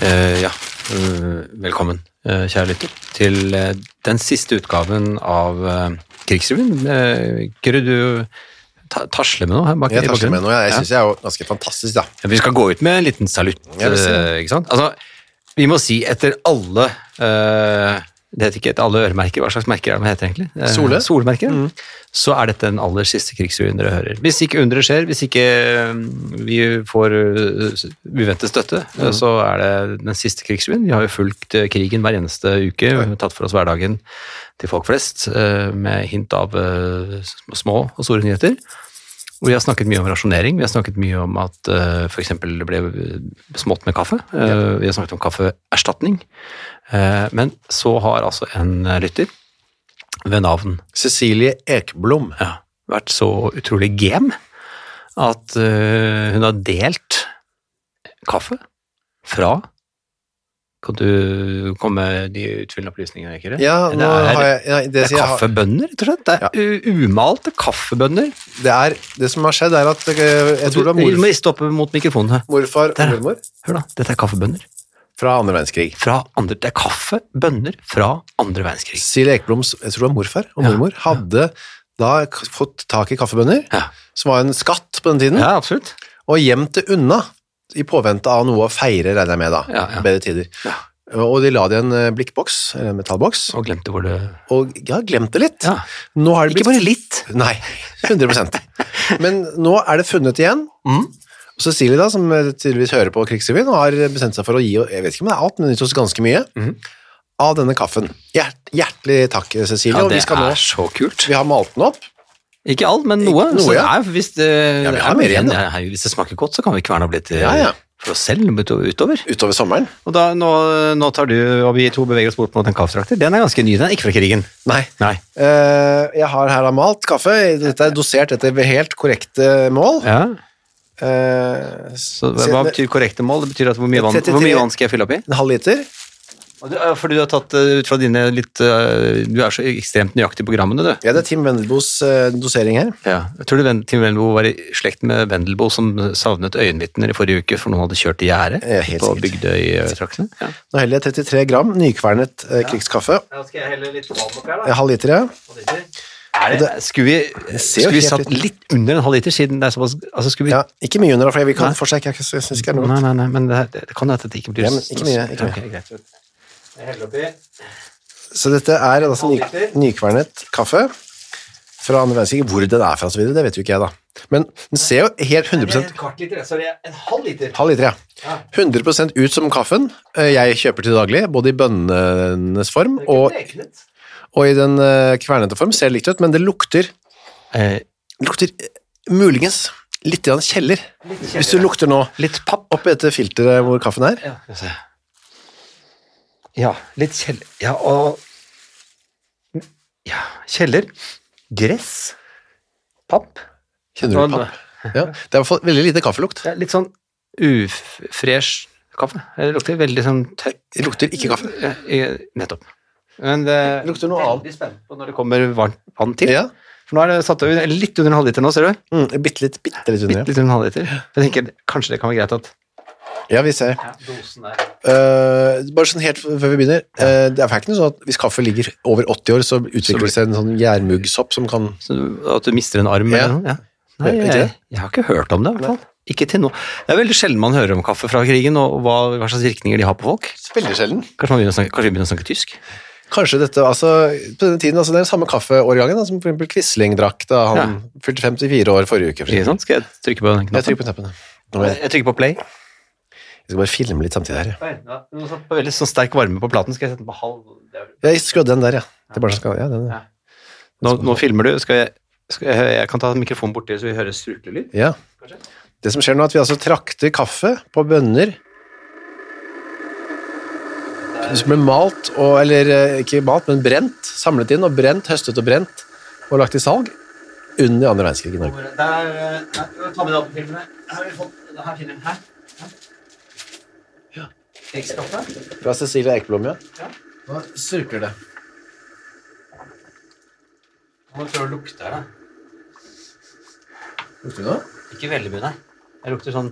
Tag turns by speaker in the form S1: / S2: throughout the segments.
S1: Eh, ja, eh, velkommen, eh, kjære lytter, til eh, den siste utgaven av eh, Krigsrevyen. Eh, Kyrre, du ta- tasler med noe her bak i
S2: Jeg tasler
S1: bakgrunnen.
S2: med noe. Jeg
S1: Ja.
S2: syns jeg er jo ganske fantastisk, da.
S1: Ja, Vi skal gå ut med en liten salutt,
S2: Ja, vi ser.
S1: eh, ikke sant? Altså, vi må si etter alle eh, Det heter ikke etter alle øremerker, hva slags merker er det man heter egentlig? Eh,
S2: Sole. Mm.
S1: Solmerker. Så er dette den aller siste krigsrevyen dere hører. Hvis ikke underet skjer, hvis ikke eh, vi får eh, s- uventet støtte, eh,
S2: Mm.
S1: så er det den siste krigsrevyen. Vi har jo fulgt eh, krigen hver eneste uke, vi har tatt for oss hverdagen til folk flest, eh, med hint av eh, s- små og store nyheter. Og Vi har snakket mye om rasjonering. Vi har snakket mye om at eh, for f.eks. det ble eh, smått med kaffe. Eh, Vi har snakket om kaffeerstatning. Eh, men så har altså en eh, lytter ved navn
S2: Cecilie Ekblom.
S1: ja, vært så utrolig gem at eh, hun har delt kaffe fra Kan du komme med de utfyllende opplysningene? Ikke? det?
S2: Ja, nå
S1: det er,
S2: har jeg, nei, det,
S1: det er
S2: sier jeg har,
S1: kaffebønner, rett og slett. Det er u- umalte kaffebønner.
S2: det, er, det som har skjedd, er at eh, jeg
S1: Du- du
S2: tror det var
S1: må
S2: mor,
S1: riste opp mot mikrofonen. her.
S2: morfar
S1: Der,
S2: og
S1: ja.
S2: mormor
S1: Hør da, dette er kaffebønner.
S2: fra andre verdenskrig.
S1: fra andre, det er kaffe, bønner fra andre verdenskrig.
S2: Cecilie Ekbloms jeg tror det var morfar og
S1: Ja.
S2: mormor hadde da k- fått tak i kaffebønner,
S1: Ja.
S2: som var en skatt på den tiden,
S1: absolutt.
S2: og gjemt det unna i påvente av noe å feire, regner jeg med, da.
S1: Ja, ja.
S2: Bedre tider.
S1: Ja.
S2: Og de la det i en eh, blikkboks, eller en metallboks,
S1: Og glemte hvor det
S2: og jeg har glemt det litt.
S1: Ja.
S2: Nå har det
S1: Ikke
S2: blitt
S1: bare litt.
S2: Nei, 100 Men nå er det funnet igjen.
S1: Mhm.
S2: Og Cecilie, da, som tydeligvis hører på Krigsrevyen, har bestemt seg for å gi jeg vet ikke om det er alt, men hun gir oss ganske mye
S1: Mhm.
S2: av denne kaffen. Hjert, hjertelig takk, Cecilie.
S1: Ja,
S2: og vi
S1: det
S2: skal nå
S1: er så kult.
S2: vi har malt den opp.
S1: Ikke alt, men noe.
S2: Ikke noe,
S1: så det
S2: ja.
S1: er, hvis, det,
S2: Ja, vi
S1: det
S2: har
S1: er
S2: mer
S1: noe
S2: igjen,
S1: igjen, ja. Her, hvis det smaker godt, så kan vi kverne opp litt eh,
S2: Ja, ja.
S1: for oss selv utover. utover.
S2: utover sommeren.
S1: Og da, nå, nå tar du og vi to beveger oss bort mot en kaffetrakter. Den er ganske ny, den er ikke fra krigen.
S2: Nei.
S1: Nei.
S2: Eh, jeg har her da malt kaffe. Dette er dosert etter helt korrekte mål.
S1: Ja.
S2: Eh,
S1: Så hva hva betyr korrekte mål? Det betyr at hvor mye vann,
S2: 33.
S1: hvor mye vann skal jeg fylle opp i?
S2: en halv liter.
S1: Og du- ja, Fordi du har tatt eh, ut fra dine litt eh, Du er så ekstremt nøyaktig på grammene, du.
S2: Ja, det er Tim Wendelbos eh, dosering her.
S1: Ja. Jeg tror du Ven- Tim Wendelboe var i slekt med Wendelboe, som savnet øyenvitner i forrige uke, for noen hadde kjørt i gjerdet
S2: Ja, helt
S1: på
S2: sikkert.
S1: Bygdøy-traktene. Ja.
S2: Nå heller jeg 33 gram nykvernet eh, krigskaffe.
S1: skal jeg helle litt vann oppi her,
S2: En halv liter, ja.
S1: skulle vi,
S2: ser jo
S1: skulle vi
S2: helt
S1: satt
S2: ut.
S1: litt under en halv liter, siden det er såpass altså skulle vi,
S2: Ja, ikke mye under, da, for jeg vil
S1: Nei.
S2: kan fortsatt ikke jeg synes ikke det er noe.
S1: Nei, nei, nei, men det, er- det kan hende at det ikke blir
S2: Ja, men ikke mye, ikke mye.
S1: Ok, greit. Jeg heller oppi.
S2: Så dette er altså ny,
S1: Halv liter.
S2: nykvernet kaffe fra andre verdenskrig. Hvor den er fra, og så videre, det vet jo ikke jeg, da. Men den ser jo helt 100
S1: kvart liter, Eh, sorry, en halv liter.
S2: Halv liter, ja.
S1: Ja.
S2: 100 ut som kaffen eh, jeg kjøper til daglig, både i bønnenes form og, og i den eh, kvernete form. Ser likt ut, men det lukter,
S1: Eh,
S2: lukter eh, muligens litt grann kjeller. Hvis du lukter nå
S1: litt papp.
S2: oppi dette filteret hvor kaffen er.
S1: Ja, skal vi se. Ja, litt kjeller Ja, og Ja, kjeller. Gress. Papp.
S2: Kjenner du papp? Ja. Det er i hvert fall veldig lite kaffelukt.
S1: Ja, litt sånn ufresh kaffe. Det lukter veldig sånn tørr
S2: Det lukter ikke kaffe.
S1: Ja, jeg- Nettopp. Men det
S2: Det lukter noe annet.
S1: Veldig spent på når det kommer varmt vann til.
S2: Ja.
S1: For nå er det satt over litt under en halvliter nå, ser du.
S2: Mm, bitte litt, bitte litt under.
S1: Bitte litt under en halvliter. Jeg tenker kanskje det kan være greit at
S2: ja. Ja, vi ser.
S1: dosen er
S2: Eh, bare sånn helt f- før vi begynner. eh, det er faktisk sånn at hvis kaffe ligger over 80 år, så utvikler det seg en sånn gjærmuggsopp som kan
S1: Så du- at du mister en arm
S2: Ja.
S1: eller noe? Ja. Nei, jeg,
S2: Ikke
S1: jeg,
S2: det?
S1: har ikke hørt om det, i hvert fall. Ikke til nå. Det er veldig sjelden man hører om kaffe fra krigen, og hva, hva slags virkninger de har på folk.
S2: Veldig sjelden.
S1: Kanskje, man begynner å snakke, kanskje vi begynner å snakke tysk?
S2: Kanskje dette altså, På denne tiden, altså, det er den samme kaffeårgangen da, som for eksempel Quisling drakk da han fylte 54 år forrige uke. for
S1: Ikke
S2: eksempel.
S1: sant? sånn? Skal jeg trykke på den
S2: Jeg
S1: knappen?
S2: trykker på knappen. Nå må
S1: Jeg
S2: Jeg
S1: jeg trykker på play.
S2: jeg skal bare filme litt samtidig her. ja.
S1: Nå satt på veldig sånn sterk varme på platen. Skal jeg sette den på halv
S2: Jeg skrudde den der, ja. Det er bare sånn skal, ja, den,
S1: Ja. Nå, nå filmer du. Skal jeg, skal jeg, jeg kan ta mikrofonen borti, så vi hører struklelyd.
S2: ja.
S1: Kanskje?
S2: Det som skjer nå, er at vi altså trakter kaffe på bønner som ble malt, og, eller eh, ikke malt, men brent, samlet inn og brent, høstet og brent, og lagt i salg under andre verdenskrig i Norge.
S1: Der, eh, nei, ta med datatilene. Her har vi fått, her finner vi den her. Krigskaffet.
S2: Fra Cecilia Ekblom,
S1: Ja.
S2: Nå surker det.
S1: Nå tror jeg det lukter det.
S2: Lukter det nå?
S1: Ikke veldig mye, nei. Det lukter sånn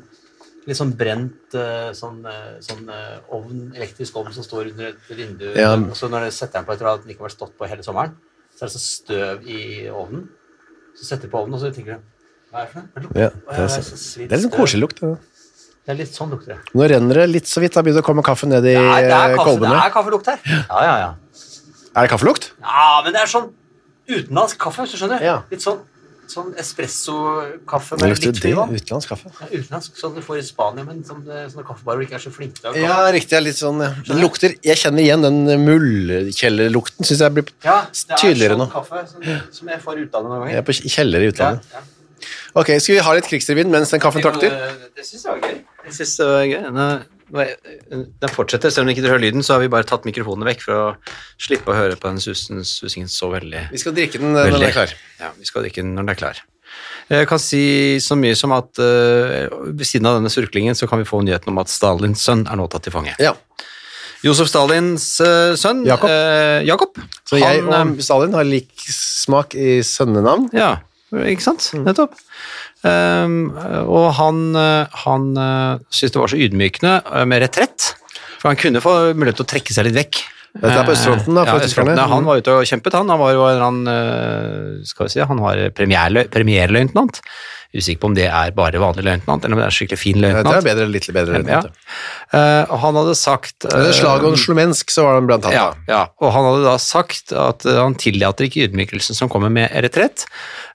S1: litt sånn brent eh, sånn, eh, sånn eh, ovn, elektrisk ovn som står under et vindu.
S2: Ja.
S1: Så når du setter den på etter at den ikke har vært stått på hele sommeren, så er det sånn støv i ovnen. Så setter du på ovnen, og så tenker du Hva er det for noe? Hva lukter det?
S2: Ja, det er
S1: Å, ja,
S2: sant.
S1: så svidd
S2: Det er litt
S1: støv.
S2: koselig lukt. det.
S1: Det er litt sånn lukter det.
S2: Nå renner det litt så vidt. Da begynner det å komme kaffe ned i
S1: Det er, det er,
S2: eh,
S1: kaffe, det
S2: kolbene.
S1: er kaffelukt her. Ja, ja, ja.
S2: Er det kaffelukt?
S1: Ja, men det er sånn utenlandsk kaffe, hvis du skjønner.
S2: Ja.
S1: Litt sånn, sånn espresso-kaffe
S2: Det
S1: med
S2: lukter
S1: litt
S2: det
S1: mye vann.
S2: utenlandsk kaffe.
S1: Ja, utenlandsk, sånn du får i Spania, men som det, sånne kaffebarer ikke er så flinke til å
S2: Ja,
S1: ha kaffe.
S2: riktig. Det er litt sånn, ja. det lukter, jeg kjenner igjen den muldkjellerlukten. Synes jeg blir
S1: Ja, det er
S2: tydeligere
S1: sånn
S2: nå.
S1: kaffe som, som jeg får i utlandet noen
S2: Jeg
S1: ganger.
S2: er på kjeller i utlandet.
S1: ja. eh,
S2: Ok, Skal vi ha litt krigsrevyen mens den kaffen trakter?
S1: Det, det syns jeg var gøy. Jeg synes det var gøy. Nå, nå er- den fortsetter. Selv om ikke dere hører lyden, så har vi bare tatt mikrofonene vekk for å slippe å høre på den susen, susingen så veldig
S2: Vi skal drikke den eh, når
S1: Veldig.
S2: den er klar.
S1: Ja, vi skal drikke den når den er klar. Jeg kan si så mye som at eh, ved siden av denne surklingen så kan vi få nyheten om at Stalins sønn er nå tatt til fange.
S2: Ja.
S1: Josef Stalins eh, sønn,
S2: Jakob.
S1: eh, Jakob.
S2: Så jeg
S1: han, eh,
S2: og Stalin har lik smak i sønnenavn.
S1: Ja, ikke sant?
S2: Mm.
S1: Nettopp. Ehm, og han, eh, han eh, syntes det var så ydmykende eh, med retrett, for han kunne få mulighet til å trekke seg litt vekk.
S2: Dette er på østfronten, da,
S1: Eh, ja,
S2: for tyskerne.
S1: østfronten. Ja, Han var ute og kjempet, han. Han var jo en eller annen eh, skal vi si, han var premierlø- premierløytnant. Usikker på om det er bare vanlig løytnant, eller om det er skikkelig fin
S2: Eh, Det er
S1: løytnant.
S2: bedre, litt bedre.
S1: Ja. Eh, og han hadde sagt eh,
S2: Slaget om Slomensk, så var den blant
S1: ja,
S2: annet.
S1: ja, og han hadde da sagt at eh, han tillater ikke ydmykelsen som kommer med retrett,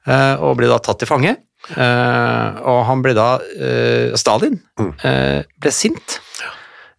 S1: eh, og ble da tatt til fange. Eh, og han ble da eh, Stalin eh, ble sint.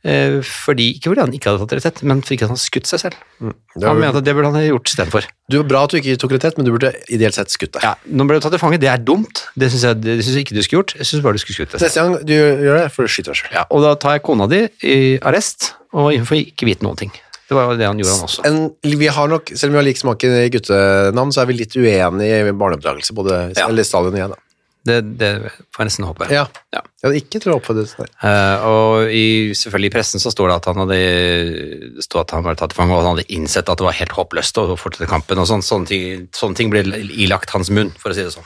S1: Eh, fordi, ikke fordi han ikke hadde tatt retrett, men fordi ikke han hadde skutt seg selv.
S2: Det
S1: han
S2: var,
S1: mente at det burde han ha gjort istedenfor.
S2: du var Bra at du ikke tok retett, men du burde ideelt sett skutt deg.
S1: Ja, nå ble du tatt til fange, det er dumt. Det syns jeg, det synes jeg ikke du skulle gjort. Jeg syns bare du skulle skutt deg selv.
S2: Neste gang du gjør det, får du skyte deg sjøl.
S1: Ja, og da tar jeg kona di i arrest, og hun får ikke vite noen ting. Det var jo det han gjorde, han også.
S2: en, vi har nok, selv om vi har lik smak i guttenavn, så er vi litt uenige i barneoppdragelse, både
S1: Ja.
S2: eller Stalin og jeg. Da.
S1: Det, det får jeg nesten håpe.
S2: Ja.
S1: Ja.
S2: Jeg hadde ikke tro på det. Nei.
S1: Eh, og i, selvfølgelig i pressen så står det at han hadde det står at han var tatt til fange, og han hadde innsett at det var helt håpløst å fortsette kampen. og sånn, Sånne ting, sånne ting ble ilagt hans munn, for å si det sånn.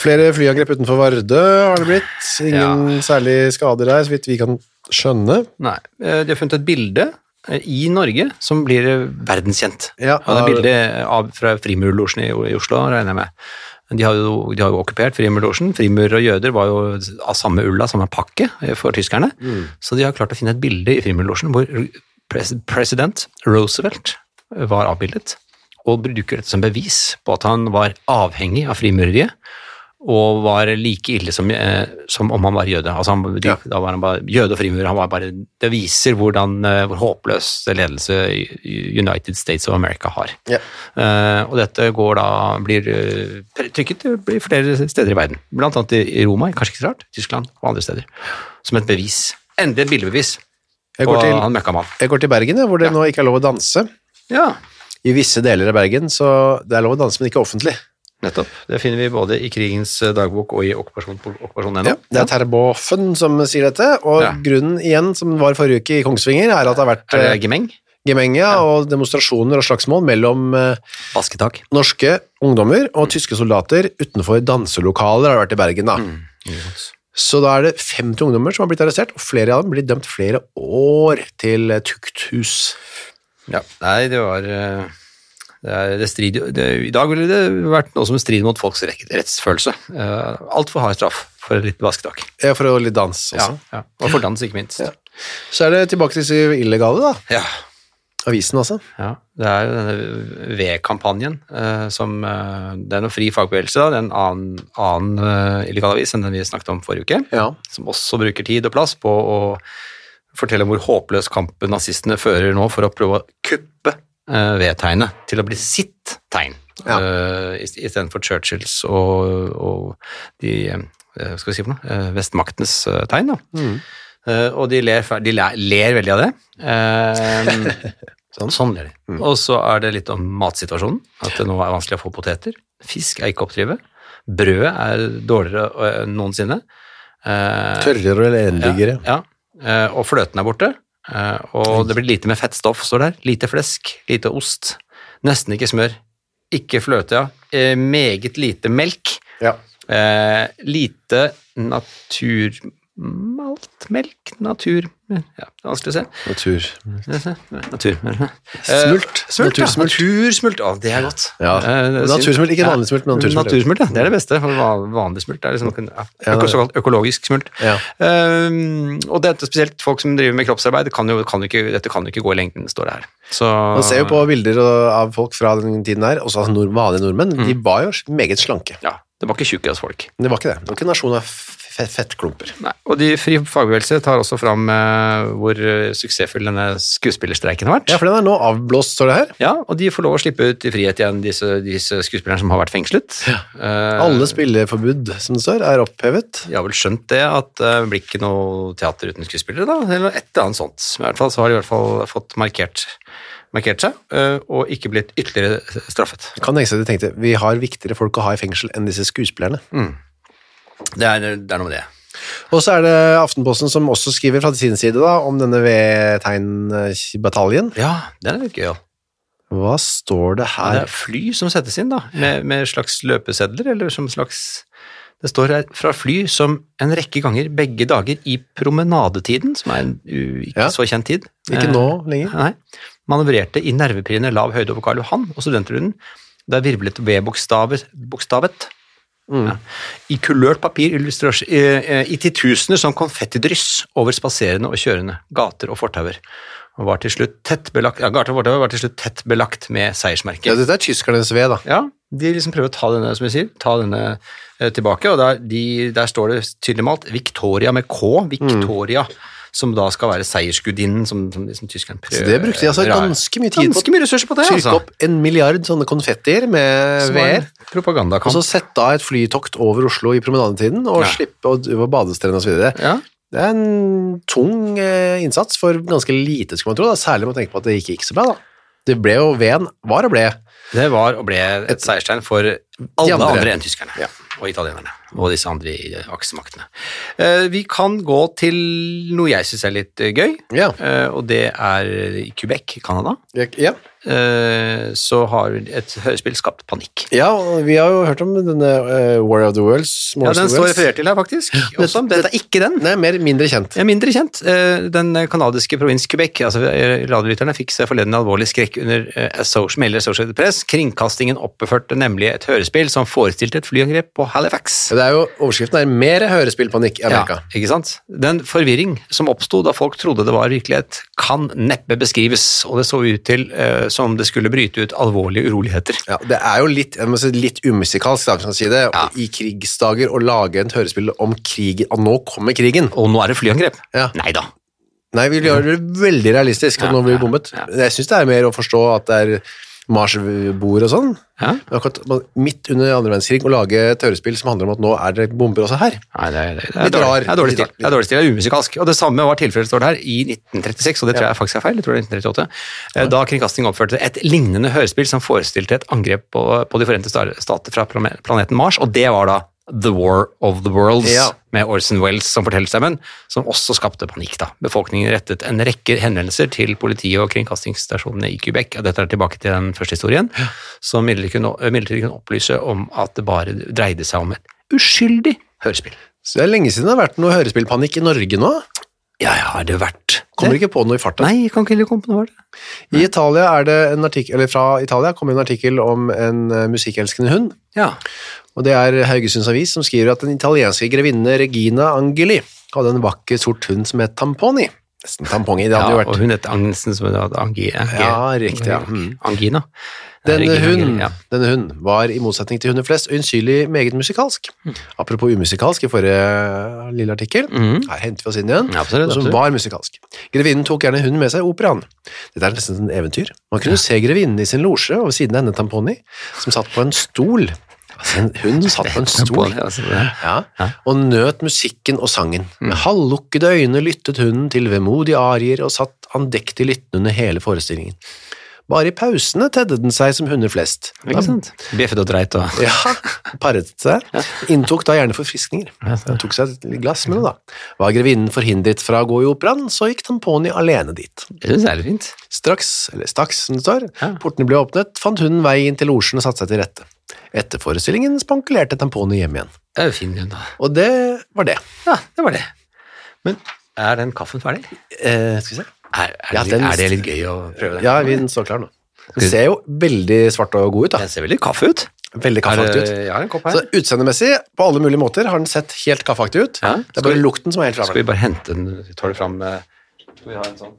S2: Flere flyangrep utenfor Vardø har det blitt. Ingen særlig skader der, så vidt vi kan skjønne.
S1: Nei, eh, De har funnet et bilde eh, i Norge som blir eh, verdenskjent.
S2: Ja,
S1: og det er
S2: av-
S1: bilde av, fra Frimurlosjen i, i Oslo, regner jeg med. De har jo, de har jo okkupert Frimurlosjen. Frimurer og jøder var jo av samme ulla, samme pakke eh, for tyskerne. Så de har klart å finne et bilde i Frimurlosjen hvor pres president Roosevelt var avbildet. Og bruker dette som bevis på at han var avhengig av frimureriet. Og var like ille som, eh, som om han var jøde. Altså han, de,
S2: Ja.
S1: Da var han bare jøde og frimurer. Han var bare, det viser hvordan, eh, hvor håpløs ledelse i- i United States of America har.
S2: Ja.
S1: Eh, og dette går da, blir eh, pre- trykket i flere steder i verden. Blant annet i i Roma, kanskje ikke så rart, Tyskland og andre steder. Som et bevis. Endelig et bildebevis
S2: Jeg
S1: på
S2: går til-
S1: han møkkamann.
S2: Jeg går til Bergen, ja, hvor det nå ikke er lov å danse.
S1: Ja,
S2: I visse deler av Bergen, så det er lov å danse, men ikke offentlig.
S1: nettopp. Det finner vi både i krigens eh, dagbok og i okkupasjon.no.
S2: Ja. Det er Terboven som sier dette, og
S1: Ja.
S2: grunnen igjen, som var forrige uke i Kongsvinger, er at det har vært
S1: Er
S2: eh,
S1: det gemeng?
S2: gemenge og demonstrasjoner og slagsmål mellom eh,
S1: Basketak.
S2: norske ungdommer og tyske soldater utenfor danselokaler har det vært i Bergen da. Så da er det 50 ungdommer som har blitt arrestert, og flere av dem blir dømt flere år til eh, tukthus.
S1: Ja, nei, det var eh, det er, det strider, jo- det, I dag ville det vært noe som strider mot folks rek- rettsfølelse. Uh, Altfor hard straff for et lite vasketak.
S2: Ja, for å litt dans
S1: Ja,
S2: også.
S1: ja. Og for dans, ikke minst. Ja.
S2: Så er det tilbake til disse illegale da,
S1: ja.
S2: avisen altså.
S1: Det er jo denne V-kampanjen eh, som eh, Det er noe fri fagbevegelse, da. Det er en annen, annen eh, illegal avis enn den vi snakket om forrige uke.
S2: Ja.
S1: som også bruker tid og plass på å fortelle om hvor håpløs kampen nazistene fører nå for å prøve å kuppe eh, V-tegnet til å bli sitt tegn,
S2: Ja.
S1: eh, i- istedenfor Churchills og, og de eh, hva skal vi si for noe, eh, vestmaktenes eh, tegn. Da. Eh, og de ler, fer- de ler, ler veldig av det. Eh,
S2: Sånn.
S1: sånn. ler de. Og så er det litt om matsituasjonen. At det nå er vanskelig å få poteter. Fisk er ikke å oppdrive. Brødet er dårligere eh, enn noensinne. Eh,
S2: Tørrere eller elendigere.
S1: ja. Eh, og fløten er borte. Eh, og det blir lite med fettstoff, står der. Lite flesk, lite ost. Nesten ikke smør. Ikke fløte, ja. Eh, meget lite melk.
S2: Ja.
S1: Eh, lite naturmalt melk Natur ja, det er Vanskelig å se.
S2: Natur.
S1: Natur. Eh,
S2: Smult.
S1: smult, ja.
S2: Natursmult.
S1: Natursmult. Å, det er godt.
S2: Ja.
S1: Eh, det er synd.
S2: Natursmult, ikke vanlig smult, men natursmult. ja.
S1: Natursmult, ja. Det er det beste. for van- Vanlig smult er liksom ja,
S2: Ja, det
S1: øko,
S2: er-
S1: såkalt økologisk smult.
S2: Ja.
S1: Ehm, og dette, spesielt folk som driver med kroppsarbeid, kan jo, kan jo ikke, dette kan jo ikke gå i lengden, står det her. Så,
S2: Man ser jo på bilder og- av folk fra den tiden her, også altså nord, vanlige nordmenn, de var jo meget slanke.
S1: Ja, det var ikke tjukkasfolk.
S2: Men det var ikke det. Det var ikke en nasjon av f- f- fettklumper.
S1: Nei, og de Fri fagbevegelse tar også fram eh, hvor eh, suksessfull denne skuespillerstreiken har vært.
S2: Ja, for den er nå avblåst, står det her.
S1: Ja, og de får lov å slippe ut i frihet igjen, disse, disse skuespillerne som har vært fengslet. Eh,
S2: Alle spilleforbud, som det står, er opphevet.
S1: De har vel skjønt det, at eh, det blir ikke noe teater uten skuespillere, da, eller et eller annet sånt. Men i hvert fall så har de i hvert fall fått markert, markert seg, eh, og ikke blitt ytterligere straffet.
S2: Kan tenke seg at de tenkte, vi har viktigere folk å ha i fengsel enn disse skuespillerne.
S1: Det er, det er noe med det.
S2: Og så er det Aftenposten som også skriver fra sin side da, om denne V-tegn-bataljen.
S1: Ja, den er litt gøy, ja.
S2: Hva står det
S1: Det
S2: her?
S1: er fly som settes inn, da, med, med slags løpesedler, eller som slags Det står her 'fra fly som en rekke ganger begge dager i promenadetiden', som er en u, ikke
S2: Ja.
S1: så kjent tid.
S2: Ikke
S1: Eh,
S2: nå lenger.
S1: Nei. Manøvrerte i nervepirrende lav høyde over Karl Johan og studentrunden. Der virvlet V-bokstavet ja, i kulørt papir illustras- eh, eh, i titusener som konfettidryss over spaserende og kjørende gater og fortauer. Og var til slutt tett belagt, ja, gater og fortauer var til slutt tett belagt med
S2: Ja,
S1: seiersmerket.
S2: dette er tyskernes V da.
S1: Ja, de liksom prøver å ta denne, som jeg sier, ta denne eh, tilbake, og der, de, der står det tydelig malt Victoria med K, Victoria,
S2: Mm.
S1: som da skal være seiersgudinnen, som, som liksom tyskerne prøver.
S2: Så det brukte de altså
S1: Ja, ja.
S2: ganske mye tid på.
S1: Ganske mye ressurser på det,
S2: Trykke
S1: altså.
S2: opp en milliard sånne konfettier med
S1: Som var
S2: VR,
S1: en Propagandakamp.
S2: og så sette av et flytokt over Oslo i promenadetiden, og
S1: Ja.
S2: slippe å drive på badestrender og så videre.
S1: ja.
S2: Det er en tung eh, innsats for ganske lite, skulle man tro, da. særlig med tanke på at det gikk ikke så bra. da. Det ble jo V-en, var og ble.
S1: Det var og ble et seierstegn for alle
S2: andre.
S1: andre. enn tyskerne og italienerne og disse andre i eh, aksemaktene. Eh, Vi kan gå til noe jeg syns er litt eh, gøy,
S2: Ja.
S1: eh, og det er i Quebec, Canada.
S2: Jeg- ja.
S1: Eh, Så har et hørespill skapt panikk.
S2: Ja, og vi har jo hørt om denne eh, War of the Worlds. Wars
S1: Ja,
S2: of the
S1: den står
S2: Worlds.
S1: referert til her, faktisk. Også. Dette er ikke den.
S2: Nei, mer mindre kjent.
S1: Den er mindre kjent. Eh, Den kanadiske provins Quebec, altså eh, radiolytterne, fikk seg forleden en alvorlig skrekk under eh, Associ- melder Associated Press. Kringkastingen oppførte nemlig et hørespill som forestilte et flyangrep på Halifax.
S2: Ja, Det er jo, Overskriften er 'Mer hørespillpanikk i Amerika'.
S1: ikke sant? Den forvirring som oppsto da folk trodde det var virkelighet, kan neppe beskrives, og det så ut til eh, som det skulle bryte ut alvorlige uroligheter.
S2: Ja, det er jo litt, jeg må si, litt umusikalsk, da, hvis man kan si det, i krigsdager å lage et hørespill om krigen, og nå kommer krigen.
S1: Og nå er det flyangrep?
S2: Ja.
S1: Nei da.
S2: Nei, vi gjør det veldig realistisk at
S1: Ja,
S2: nå blir
S1: ja,
S2: vi bombet.
S1: ja.
S2: Jeg synes det er mer å forstå at det er marsjboer og sånn.
S1: Ja?
S2: Men Akkurat man- midt under andre verdenskrig å lage et hørespill som handler om at nå er det bomber også her.
S1: Nei, det er, det er,
S2: Litt
S1: dårlig,
S2: rar.
S1: det er dårlig
S2: Litt
S1: stil.
S2: rar.
S1: Det er dårlig stil, det er umusikalsk. Og det samme var tilfellet, står det her, i 1936, og det tror jeg faktisk er feil, jeg tror det er 1938, eh, da Kringkasting oppførte et lignende hørespill som forestilte et angrep på, på De forente star- stater fra plane- planeten Mars, og det var da The War of the Worlds,
S2: Ja.
S1: med Orson Welles som fortellerstemmen, som også skapte panikk. da. Befolkningen rettet en rekke henvendelser til politiet og kringkastingsstasjonene i Quebec, og dette er tilbake til den første historien, som midlertidig kunne, midlertidig kunne opplyse om at det bare dreide seg om et uskyldig hørespill.
S2: Så det er lenge siden det har vært noe hørespillpanikk i Norge nå.
S1: Ja, ja, har det vært
S2: Kommer
S1: det?
S2: ikke på noe i farta.
S1: Nei, jeg kan ikke heller komme på noe var det.
S2: I Italia er det en artikkel, eller fra Italia kom en artikkel om en eh, musikkelskende hund,
S1: Ja.
S2: Og det er Haugesunds Avis som skriver at den italienske grevinne Regina Angeli hadde en vakker sort hund som het Tamponi. Nesten Tamponi, det hadde jo
S1: og
S2: vært.
S1: hun het Agnesen, som hun hadde angi, angi,
S2: Ja, riktig, ja. Mm.
S1: Angina.
S2: Denne
S1: Regina
S2: hunden,
S1: Angeli, ja.
S2: denne hunden var i motsetning til hunder flest øyensynlig meget musikalsk.
S1: Mm.
S2: Apropos umusikalsk i forrige eh, lille artikkel.
S1: Mhm.
S2: Her henter vi oss inn igjen.
S1: Ja, absolutt,
S2: og som
S1: absolutt.
S2: var musikalsk. Grevinnen tok gjerne hunden med seg i operaen. Dette er nesten et eventyr. Man kunne se grevinnen i sin losje og ved siden av henne Tamponi, som satt på en stol Altså, En hund satt på en stol
S1: altså,
S2: ja, og nøt musikken og sangen. Med halvlukkede øyne lyttet hunden til vemodige arier og satt andektig lyttende under hele forestillingen. Bare i pausene tedde den seg som hunder flest.
S1: Ikke sant? Bjeffet og dreit og
S2: Ja, paret seg. Inntok da gjerne forfriskninger. Han tok seg et glass med det, da. Var grevinnen forhindret fra å gå i operaen, så gikk Tamponi alene dit.
S1: Det syns jeg er litt fint.
S2: Straks, eller straks, som det står,
S1: Ja.
S2: portene ble åpnet, fant hunden vei inn til losjen og satte seg til rette. Etter forestillingen spankulerte Tamponi hjem igjen.
S1: Det er jo fin grunn, da.
S2: Og det var det.
S1: Ja, det var det. Men er den kaffen ferdig?
S2: Eh, skal vi se.
S1: Er, er,
S2: Ja,
S1: det, litt-
S2: den-
S1: er det litt gøy å prøve den?
S2: Ja, vi står klar nå. Den ser jo veldig svart og god ut, da.
S1: Den ser veldig kaffe ut.
S2: Veldig kaffeaktig ut.
S1: Jeg har en kopp her.
S2: Så utseendemessig, på alle mulige måter, har den sett helt kaffeaktig ut.
S1: Ja.
S2: Det er bare lukten som er helt
S1: Skal vi
S2: fraværende.
S1: bare hente den Vi tar det fram eh, Skal vi ha en sånn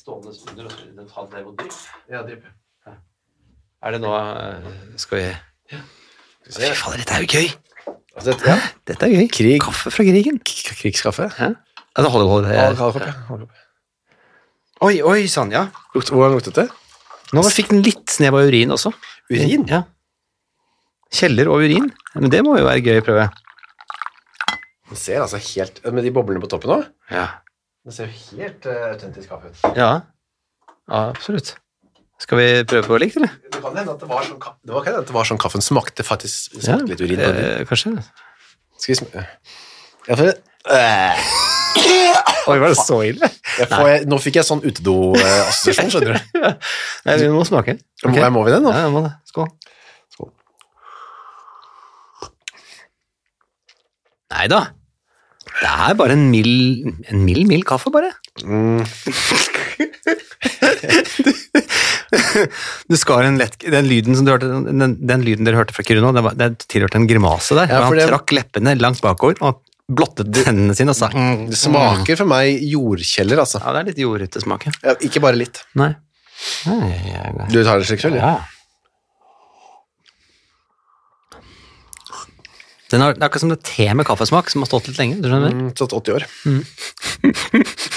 S1: stående som du- den har det og drypp? Ja. Er det nå eh, Skal vi Fy fader, dette er jo gøy!
S2: Altså, dette- ja.
S1: Dette er gøy.
S2: Krig.
S1: Kaffe fra krigen.
S2: K- Krigskaffe.
S1: Hæ? Ja, det holder, holder.
S2: Ja,
S1: jeg-
S2: kaffe, ja. Kaffe.
S1: Oi, oi sann, ja.
S2: Lukt, hvordan luktet det?
S1: Nå fikk den litt snev av urin også.
S2: Urin?
S1: Ja. Kjeller og urin. Men det må jo være gøy å prøve.
S2: Den ser altså helt, med de boblene på toppen også,
S1: Ja.
S2: den ser jo helt eh, autentisk kaffe ut.
S1: ja. Absolutt. Skal vi prøve på likt, eller?
S2: Det kan hende at det var sånn, ka- det var, kan hende at det var sånn kaffen smakte, faktisk smakte litt urin. på den.
S1: Eh, kanskje.
S2: Skal vi sm... Ja, for, Eh,
S1: Oi, var det så ille?
S2: jeg får, nå fikk jeg sånn utedo-assosiasjon, skjønner du.
S1: Nei, vi må smake.
S2: Må, jeg må vi det nå?
S1: Ja, jeg må det. Skål.
S2: Skål.
S1: Nei da. Det er bare en mild, en mild, mild kaffe, bare.
S2: Mm,
S1: Du skar en lett, den, lyden som du hørte, den, den lyden dere hørte fra Kyrre nå, det, var- det tilhørte en grimase der.
S2: Ja,
S1: og
S2: for
S1: han
S2: det-
S1: trakk leppene langt bakover og blottet tennene sine og sa mm.
S2: det smaker for meg jordkjeller, altså.
S1: Ja, det er litt jordete smak, ja.
S2: Ja, ikke bare litt.
S1: Nei. Nei ja, ja.
S2: Du tar det slik selv, ja.
S1: Ja. Den har, det er akkurat som det te med kaffesmak som har stått litt lenge. Du skjønner?
S2: Mm, Sånn 80 år.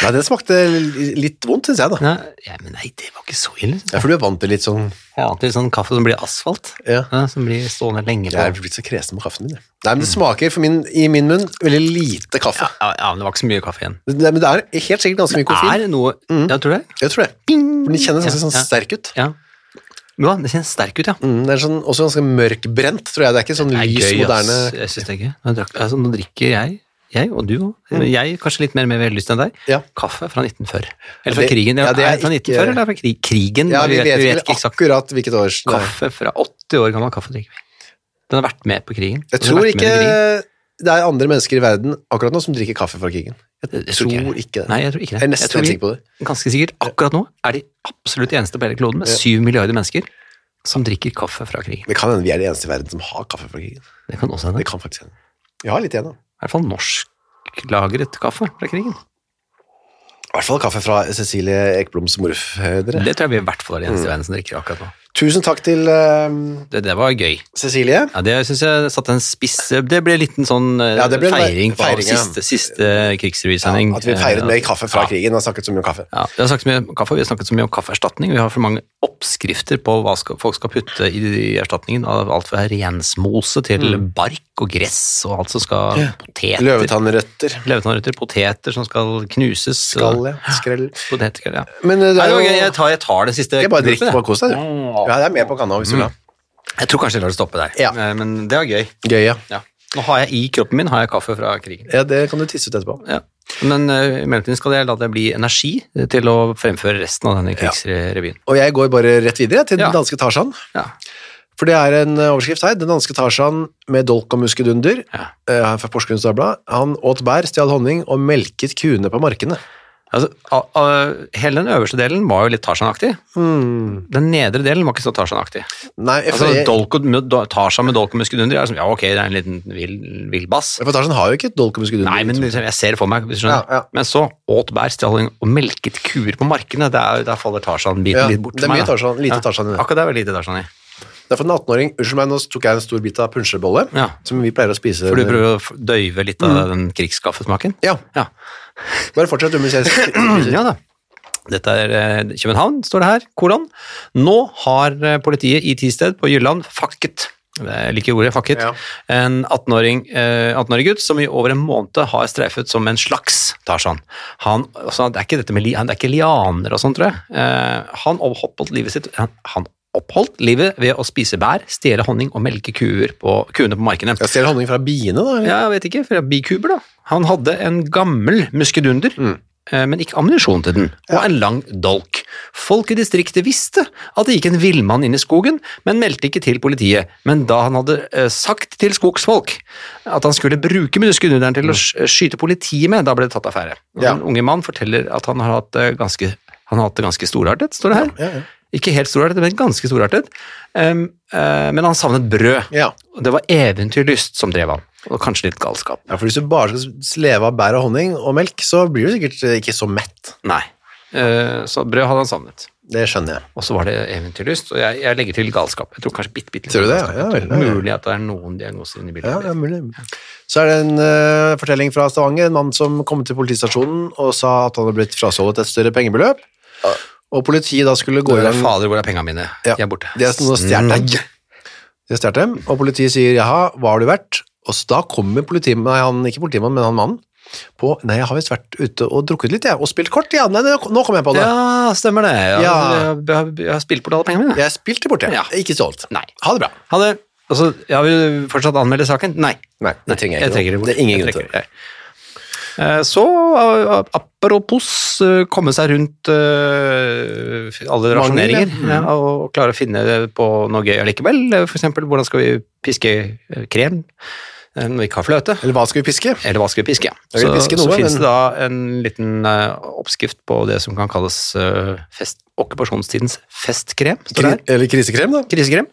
S2: Nei, det smakte li- litt vondt, synes jeg da.
S1: Nei, ja, men nei, det var ikke så ille.
S2: Ja, for du er vant til litt sånn...
S1: Jeg ante litt sånn kaffe som blir asfalt.
S2: Ja.
S1: Ja, som blir stående lenge.
S2: Jeg
S1: På.
S2: er blitt så kresen på kaffen min. jeg. Nei, men Det smaker for min, i min munn veldig lite kaffe.
S1: Mm. Ja, ja, men det var ikke så mye kaffe igjen.
S2: Det, men det er helt sikkert ganske mye
S1: Det
S2: koffein.
S1: er noe
S2: Mm.
S1: Jeg tror det.
S2: Jeg tror det. For den kjennes ganske
S1: Ja,
S2: sånn
S1: ja.
S2: sterk ut.
S1: Ja. ja. Den kjennes sterk ut, ja.
S2: Mm, det er sånn, også ganske mørkbrent, tror jeg. Det er ikke sånn
S1: Det er
S2: lys,
S1: gøy,
S2: moderne
S1: ass. Jeg syns det er gøy. Nå, drakk, altså, nå drikker jeg, jeg og du òg, jeg kanskje litt mer med vellyst enn deg,
S2: Mm. Ja.
S1: kaffe fra 1940.
S2: Ja,
S1: Eller fra
S2: det-
S1: krigen.
S2: ja,
S1: Ja,
S2: det
S1: er
S2: er
S1: det fra
S2: ikke-
S1: 1940 eller er det fra krig, krigen?
S2: Ja,
S1: Mm, vi, vet, vi vet
S2: ikke
S1: ikke eksakt.
S2: akkurat hvilket år. Nei.
S1: Kaffe fra 80 år gammel kaffe drikker vi. Den har vært med på krigen.
S2: Jeg
S1: Den har
S2: tror
S1: vært med
S2: ikke
S1: under krigen.
S2: det er andre mennesker i verden akkurat nå som drikker kaffe fra krigen. Jeg
S1: Jeg
S2: tror ikke det.
S1: Nei, jeg tror ikke det.
S2: Jeg er nesten
S1: tror
S2: helt
S1: vi-
S2: sikker på det.
S1: ganske sikkert akkurat nå er de absolutt de eneste på hele kloden med syv milliarder mennesker som drikker kaffe fra krigen.
S2: Det kan hende vi er de eneste i verden som har kaffe fra krigen.
S1: Det kan også hende.
S2: Det kan faktisk hende. Vi har litt igjen, da.
S1: I hvert fall norsklagret kaffe fra krigen.
S2: I hvert fall kaffe fra Cecilie Ekbloms morfedre.
S1: Det tror jeg vi i hvert fall er de eneste
S2: Mm.
S1: i verden som drikker akkurat nå.
S2: Tusen takk til eh,
S1: Det, det var gøy.
S2: Cecilie.
S1: Ja, det synes jeg satte en spiss Det ble en liten sånn eh,
S2: Ja, det ble en
S1: feiring på
S2: feiring, ja.
S1: siste, siste krigsrevysending. eh,
S2: Ja, at vi feiret mer kaffe fra krigen. Har snakket så mye om kaffe.
S1: Ja, vi har snakket så mye om kaffe, vi har snakket så mye om kaffeerstatning. Vi har for mange oppskrifter på hva skal, folk skal putte i, i erstatningen. Av alt fra rensmose til
S2: Mm.
S1: bark og gress og alt som skal Poteter.
S2: Løvetannrøtter.
S1: Løvetannrøtter, poteter som skal knuses.
S2: Skall,
S1: og-
S2: ja. Skrell.
S1: Poteter, ja.
S2: Men eh,
S1: Nei,
S2: det er
S1: det var
S2: jo
S1: gøy. Jeg tar, jeg tar den siste.
S2: Det er bare drikk,
S1: gruppen, jeg.
S2: bare kos deg, du. Ja, det er med på kanna hvis du vil ha.
S1: Mm. Jeg tror kanskje jeg lar det stoppe der.
S2: Ja.
S1: Eh, Men det var gøy.
S2: Gøy, ja.
S1: Ja. Nå har jeg i kroppen min har jeg kaffe fra krigen.
S2: ja. Det kan du tisse ut etterpå.
S1: Ja. Men eh, i mellomtiden skal jeg la det bli energi til å fremføre resten av denne krigsrevyen.
S2: Og jeg går bare rett videre til
S1: Ja.
S2: den danske Tarzan.
S1: Ja.
S2: For det er en eh, overskrift her. Den danske Tarzan med dolk og muskedunder
S1: Ja.
S2: eh, her fra Porsgrunns Dagblad. Han åt bær, stjal honning og melket kuene på markene.
S1: Altså, a, a, hele den øverste delen var jo litt Tarzan-aktig.
S2: Hmm.
S1: Den nedre delen var ikke så Tarzan-aktig.
S2: Nei, for,
S1: Altså, dolk og, mu- do- Tarzan med dolk og muskedunder er som, ja, ok, det er en liten vill, vill bass.
S2: for Tarzan har jo ikke dolk og muskedunder.
S1: Nei, men liksom, jeg ser det for meg. hvis du skjønner.
S2: Ja, ja.
S1: Men så åt bær, stjal og melket kuer på markene. Der, der faller Tarzan-biten
S2: Ja,
S1: litt bort
S2: det er
S1: for meg.
S2: mye
S1: da.
S2: Tarzan- lite Tarzan i det.
S1: Akkurat der var det lite Tarzan i.
S2: Derfor en 18-åring Unnskyld meg, nå tok jeg en stor bit av punsjebolle,
S1: Ja.
S2: som vi pleier å spise.
S1: For du prøver å f- døyve litt av den krigskaffesmaken?
S2: Mm. Ja,
S1: Ja.
S2: bare fortsett. Du, mens jeg-
S1: ja da. Dette er eh, København, står det her. Kolon. Nå har eh, politiet i Tisted på Jylland fakket jeg liker ordet fakket,
S2: Ja.
S1: en 18-åring, eh, 18-årig gutt som i over en måned har streifet som en slags Tarzan. Han, altså, det, er ikke dette med, li- det er ikke lianer og sånn, tror jeg. Eh, han oppholdt livet sitt han, han oppholdt livet ved å spise bær, stjele honning og melke kuer på, kuene på markene.
S2: Jeg ser honning fra biene, da. eller?
S1: Ja, jeg vet ikke, fra bikuber da. Han hadde en gammel muskedunder,
S2: Mm.
S1: eh, men ikke ammunisjon til den, og en lang dolk. Folk i distriktet visste at det gikk en villmann inn i skogen, men meldte ikke til politiet. Men da han hadde eh, sagt til skogsfolk at han skulle bruke muskedunderen til å sk- skyte politiet med, da ble det tatt affære. Og
S2: Mm. Ja.
S1: Den unge mann forteller at han har hatt det ganske, han har hatt det ganske storartet, står det her.
S2: Ja, ja.
S1: Ikke helt storartet, men ganske storartet. Em, eh, men han savnet brød.
S2: Ja.
S1: Og det var eventyrlyst som drev han, og kanskje litt galskap.
S2: ja, for hvis du bare skal leve av bær og honning og melk, så blir du sikkert eh, ikke så mett.
S1: Nei. Eh, Så brød hadde han savnet.
S2: Det skjønner jeg.
S1: Og så var det eventyrlyst, og jeg, jeg legger til galskap. Jeg tror kanskje bitte, bitte litt
S2: Tror du det?
S1: galskap.
S2: Ja,
S1: Jeg tror
S2: vel, ja, ja.
S1: Mulig at det er noen diagnoser inni
S2: Ja,
S1: bildet.
S2: ja, mulig. Så er det en eh, fortelling fra Stavanger, en mann som kom til politistasjonen og sa at han hadde blitt frastjålet et større pengebeløp, og politiet da skulle gå i gang...
S1: Fader, hvor er pengene mine?
S2: Ja,
S1: De er borte.
S2: Det er sånn å stjerne. De har stjålet dem, og politiet sier 'jaha, hva har du vært?' Og så da kommer politimannen, nei, han, ikke politimannen, men han mannen, på 'nei, jeg har visst vært ute og drukket litt, jeg, og spilt kort', ja, nei, nei, nå kom jeg på det.
S1: Ja, stemmer det. Ja,
S2: Ja.
S1: Jeg, har- jeg har spilt bort alle pengene mine.
S2: Jeg spilte bort, jeg.
S1: Ja.
S2: Ikke stjålet.
S1: Nei.
S2: Ha det bra.
S1: Ha det. Altså, jeg vil fortsatt anmelde saken. Nei.
S2: Nei, det trenger jeg
S1: Jeg
S2: ikke.
S1: trekker det bort.
S2: Det er ingen
S1: Jeg
S2: grunn til
S1: trekker det. Eh, Så, eh, apropos eh, komme seg rundt eh, alle rasjoneringer
S2: Mangel,
S1: ja, og og klare å finne på noe gøy allikevel. Eh, For eksempel, hvordan skal vi piske eh, krem eh, når vi ikke har fløte?
S2: Eller hva skal vi piske?
S1: Eller hva skal vi piske?
S2: Jeg vil piske noe,
S1: så finnes
S2: men-
S1: det da en liten eh, oppskrift på det som kan kalles eh, fest, okkupasjonstidens festkrem. står det her.
S2: Kri- Eller krisekrem, da?
S1: Krisekrem.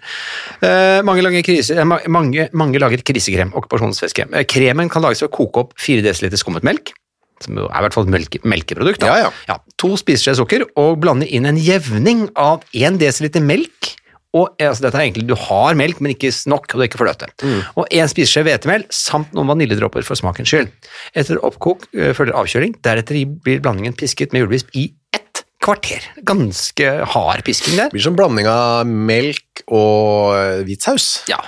S1: Eh, mange, lager krise, eh, ma- mange, mange lager krisekrem, okkupasjonsfestkrem. Eh, kremen kan lages ved å koke opp 4 dl skummet melk, som jo er i hvert fall et melke, melkeprodukt. Da.
S2: Ja, ja.
S1: to spiseskjeer sukker, og blande inn en jevning av 1 dl melk. Og, eh, altså, dette er egentlig, Du har melk, men ikke nok, og det er ikke fløte.
S2: Mm.
S1: Og en spiseskje hvetemel samt noen vaniljedråper for smakens skyld. Etter oppkok eh, følger avkjøling. Deretter blir blandingen pisket med julevisp i ett kvarter. Ganske hard pisking der.
S2: Det blir som blanding av melk og eh, hvit saus.
S1: Ja,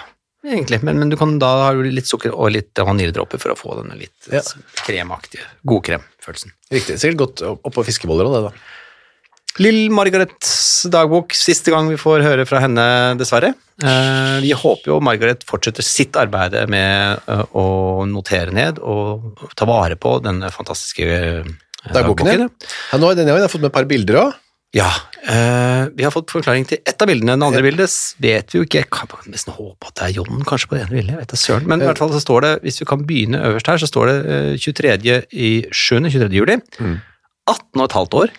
S1: egentlig. Men, men du kan, da har du litt sukker og litt vaniljedråper for å få denne litt
S2: Ja.
S1: kremaktige, godkremfølelsen.
S2: Riktig. Sikkert godt oppå fiskeboller og det, da.
S1: Lill Margarets dagbok, siste gang vi får høre fra henne, dessverre. Eh, vi håper jo Margaret fortsetter sitt arbeid med eh, å notere ned og ta vare på denne fantastiske eh,
S2: Dagboken, ja. ja nå, er denne gangen har jeg fått med et par bilder òg.
S1: Ja, eh, vi har fått forklaring til ett av bildene. Det andre bildet s- vet vi jo ikke. Jeg kan bare nesten håpe at det er John kanskje på det ene bildet. jeg vet da søren. Men i hvert fall så står det, hvis vi kan begynne øverst her, så står det eh, 23. i 7. 23. juli. 18 og et halvt år,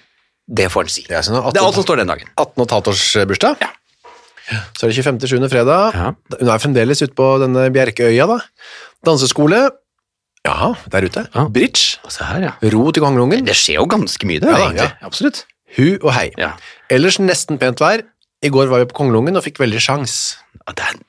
S1: Mm. det får en si.
S2: Jeg synes
S1: Det er alt
S2: 18,
S1: som står den dagen.
S2: 18 og et halvt års eh, bursdag.
S1: Ja.
S2: Så er det 25.7. fredag.
S1: Ja.
S2: Hun er fremdeles ute på denne Bjerkeøya, da. Danseskole. Ja, der ute.
S1: Ja.
S2: Bridge.
S1: Og se her, ja.
S2: Ro til kongeungen.
S1: Det skjer jo ganske mye, det.
S2: Ja,
S1: egentlig. Absolutt.
S2: Hu og hei.
S1: Ja.
S2: Ellers nesten pent vær. I går var vi på kongelungen og fikk veldig sjans.
S1: Ja, Det er,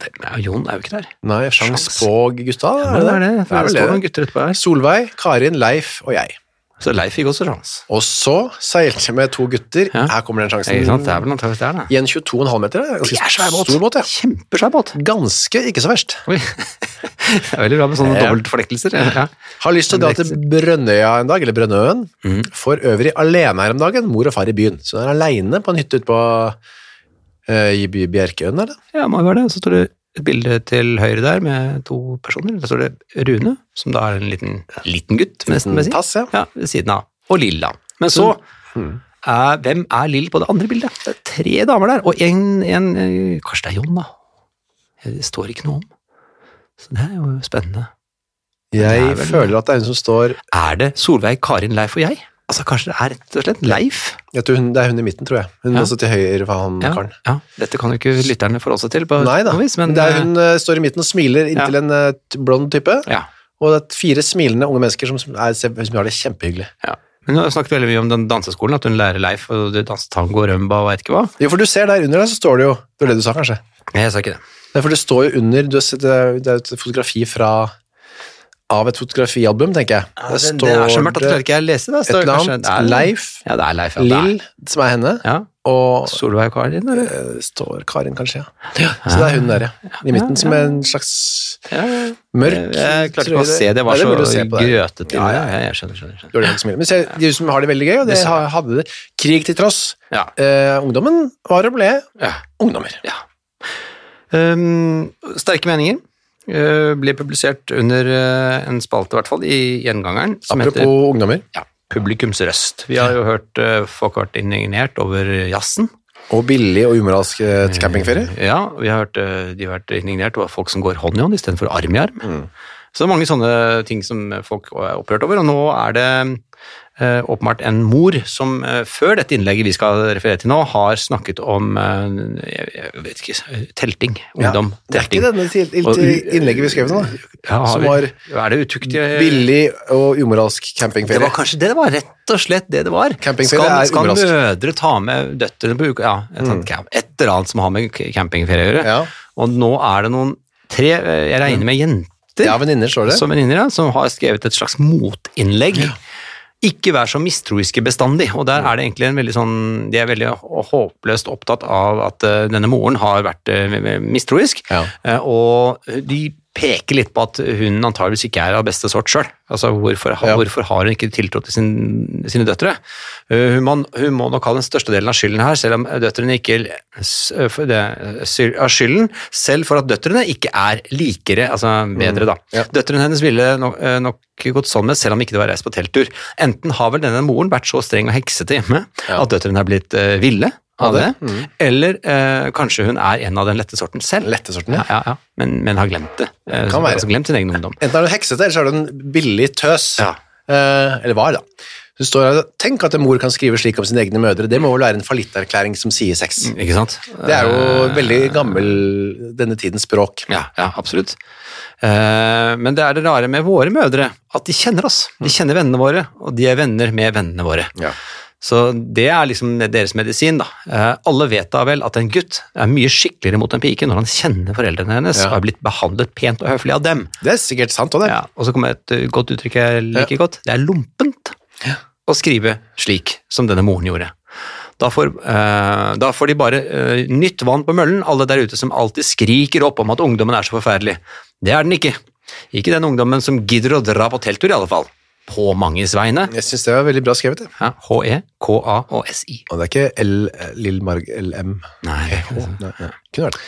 S1: det er, Jon er jo ikke der.
S2: Nei, sjans
S1: Sjans.
S2: på Gustav,
S1: Ja, det er det.
S2: Det er
S1: det
S2: vel
S1: står noen
S2: det.
S1: gutter etterpå her.
S2: Solveig, Karin, Leif og jeg.
S1: Så Leif fikk også sjans.
S2: Og så seilte jeg med to gutter.
S1: Ja.
S2: Her kommer den sjansen.
S1: Ikke sant? Det er vel antakeligvis der, da.
S2: I en 22,5 meter. det er
S1: Det
S2: Ganske
S1: er svær båt.
S2: Stor båt, ja.
S1: Kjempesvær båt.
S2: Ganske ikke så verst.
S1: Oi. Det er veldig bra med sånne
S2: Ja.
S1: dobbeltfornektelser. Ja.
S2: Har lyst til å dra til Brønnøya en dag, eller Brønnøen.
S1: Mm.
S2: For øvrig alene her om dagen, mor og far i byen. Så hun er aleine på en hytte ute på eh, i by Bjerkeøen, eller?
S1: ja, må jo være det. Så står det et bilde til høyre der med to personer. Der står det Rune, som da er en liten, liten gutt, nesten vil jeg si.
S2: Pass, ja.
S1: Ja, ved siden av. Og Lilla. Men så Mhm. er, Hvem er Lill på det andre bildet? Det er tre damer der, og en, en eh, Kanskje det er Jon, da. Det står ikke noe om. Så det er jo spennende.
S2: Jeg
S1: Det er vel-
S2: føler at det er hun som står
S1: Er det Solveig, Karin, Leif og jeg? Altså Kanskje det er rett og slett Leif?
S2: jeg tror hun, Det er hun i midten, tror jeg. Hun
S1: Ja.
S2: er også til høyre for han
S1: Ja,
S2: karen.
S1: ja. Dette kan jo ikke lytterne forholde seg til, på
S2: Nei da.
S1: noe vis, men
S2: det er hun eh, står i midten og smiler inntil en eh, t- blond type.
S1: eh, ja.
S2: Og det er fire smilende unge mennesker som, som, er, som har det kjempehyggelig.
S1: Ja. Men Hun har snakket veldig mye om den danseskolen, at hun lærer Leif å danse tango og rømba og veit ikke hva.
S2: Jo, for du ser der under der, så står det jo Det var det du sa, kanskje?
S1: Nei, jeg sa ikke det.
S2: Nei, for det står jo under du har sett, Det er- det er et fotografi fra Av et fotografialbum, tenker jeg. Der
S1: det, er så mørkt at jeg klarer ikke å lese det.
S2: et eller annet. Leif,
S1: Ja, det er Leif. Ja, det er.
S2: Lill, som er henne,
S1: Ja.
S2: og
S1: Solveig og Karin, eller?
S2: eh, står Karin, kanskje. Ja. Så det er hun der, ja. I midten, som er en slags
S1: Ja, ja.
S2: mørk
S1: Jeg klarte
S2: tror
S1: ikke å se, det var
S2: Nei,
S1: så
S2: er mulig å se på det.
S1: grøtete.
S2: Ja, ja, ja.
S1: Jeg skjønner, skjønner. skjønner.
S2: Dårlig smil. Men se, de som har det veldig gøy, og det
S1: Det ser
S2: har- hadde det. Krig til tross.
S1: Ja.
S2: Eh, ungdommen var og ble
S1: ja.
S2: ungdommer.
S1: Um, sterke meninger uh, blir publisert under uh, en spalte, i hvert fall, i Gjengangeren, som
S2: Apropos
S1: heter
S2: ungdommer.
S1: ja, Publikums røst. Vi har jo hørt uh, folk har vært indignert over jazzen.
S2: Og billig og umoralsk eh, campingferie.
S1: Ja, vi har hørt uh, de har vært indignert over folk som går hånd i hånd istedenfor arm i arm.
S2: Mm.
S1: Så det er mange sånne ting som eh, folk er opprørt over, og nå er det eh, åpenbart en mor som eh, før dette innlegget vi skal referere til nå, har snakket om eh, jeg, jeg vet ikke, telting. Eh, Ungdom.
S2: Det er ikke
S1: telting.
S2: denne til, til,
S1: Og-
S2: innlegget vi skrev nå. da.
S1: Ja, har
S2: som
S1: vi-
S2: var
S1: Er det eh, utuktige
S2: Billig og umoralsk
S1: Det
S2: campingferie.
S1: var kanskje det det var, rett og slett det det var.
S2: Campingferie
S1: skal
S2: er
S1: skal
S2: umoralsk.
S1: mødre ta med døtrene på uka? Ja, et, sånt camp, et eller annet som har med k- campingferie å gjøre.
S2: Ja. Mm.
S1: Og nå er det noen tre, eh, jeg regner med jenter,
S2: Ja, venninner står det.
S1: som venninner, ja, som har skrevet et slags motinnlegg. Ikke vær så mistroiske bestandig. Og der er det egentlig en veldig sånn De er veldig hå- håpløst opptatt av at eh, denne moren har vært eh, mistroisk,
S2: Ja.
S1: Eh, og de peker litt på at hun antageligvis ikke er av beste sort sjøl. Altså, hvorfor, ha-
S2: Ja.
S1: hvorfor har hun ikke tiltro til sin, sine døtre? Eh, Hun må, hun må nok ha den største delen av skylden her, selv om døtrene ikke s- eh, for det, eh, skyld- av skylden, selv for at døtrene ikke er likere, altså bedre, da.
S2: Mm. Ja.
S1: Døtrene hennes ville nok, eh, nok gått sånn med, selv om ikke det var reist på telttur. Enten har vel denne moren vært så streng og heksete hjemme
S2: Ja.
S1: at døtrene er blitt eh, ville av
S2: Av
S1: det,
S2: det? Mm.
S1: eller eh, kanskje hun er en av den lette sorten selv.
S2: Lette sorten, ja.
S1: Ja, ja, ja. Men, men har glemt det. Eh,
S2: Kan være.
S1: Altså glemt sin egen ungdom.
S2: Enten er du heksete, eller så er du en billig tøs.
S1: Ja.
S2: Eh, eller var, da. Så står her, Tenk at en mor kan skrive slik om sine egne mødre. Det må vel være en fallitterklæring som sier sex.
S1: Ikke sant?
S2: Det er jo
S1: Eh,
S2: veldig gammel denne tidens språk.
S1: Ja, ja absolutt. Eh, men det er det rare med våre mødre, at de kjenner oss. De kjenner vennene våre, og de er venner med vennene våre.
S2: Mm. Ja.
S1: Så det er liksom deres medisin, da. Eh, alle vet da vel at en gutt er mye skikkeligere mot en pike når han kjenner foreldrene hennes
S2: Ja.
S1: og er blitt behandlet pent og høflig av dem.
S2: Det er sikkert sant òg, det.
S1: Ja, og så kommer et eh, godt uttrykk jeg liker godt. Det er lompent å skrive slik som denne moren gjorde. Da får, eh, da får de bare eh, nytt vann på møllen, alle der ute som alltid skriker opp om at ungdommen er så forferdelig. Det er den ikke. Ikke den ungdommen som gidder å dra på telttur, i alle fall. På manges vegne.
S2: Jeg syns det var veldig bra skrevet. Det.
S1: Ja, E HE, KA og SI.
S2: Og det er ikke L, eh, Lill Marg LM.
S1: Nei, det er ikke
S2: Nei,
S1: sant.
S2: nei. Kunne vært det.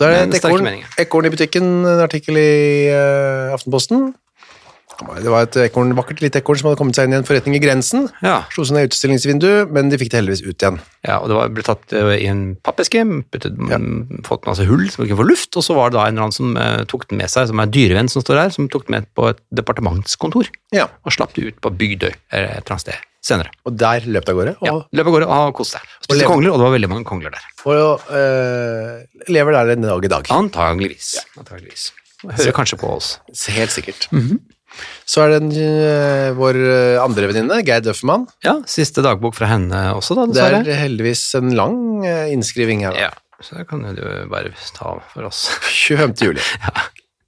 S2: Så
S1: Men
S2: er det et
S1: sterke
S2: ekorn,
S1: meninger.
S2: ekorn i butikken, en artikkel i eh, Aftenposten. Det var et ekorn, vakkert lite ekorn som hadde kommet seg inn i en forretning i Grensen.
S1: Ja.
S2: Slo seg ned i utstillingsvinduet, men de fikk det heldigvis ut igjen.
S1: Ja, og det var, ble tatt eh, i en pappeske, puttet, mm, fått masse hull som ikke får luft, og så var det da en eller annen som eh, tok den med seg, som er en dyrevenn som står her, som tok den med på et departementskontor,
S2: Ja,
S1: og slapp det ut på Bygdøy eh, et eller annet sted senere.
S2: Og der løp det av gårde. Og,
S1: Ja, løp av gårde og koste seg.
S2: Og
S1: Spiste
S2: lever.
S1: kongler, og det var veldig mange kongler der.
S2: og eh, lever der en dag i dag.
S1: Antageligvis. Antageligvis. Hører kanskje på oss.
S2: Helt sikkert.
S1: Mhm.
S2: Så er det en, eh, vår eh, andre venninne, Geir Døffermann.
S1: Ja, siste dagbok fra henne også da,
S2: Det er
S1: dessverre.
S2: heldigvis en lang eh, innskriving her. da.
S1: Ja, så det kan du jo bare ta for oss.
S2: 25. juli.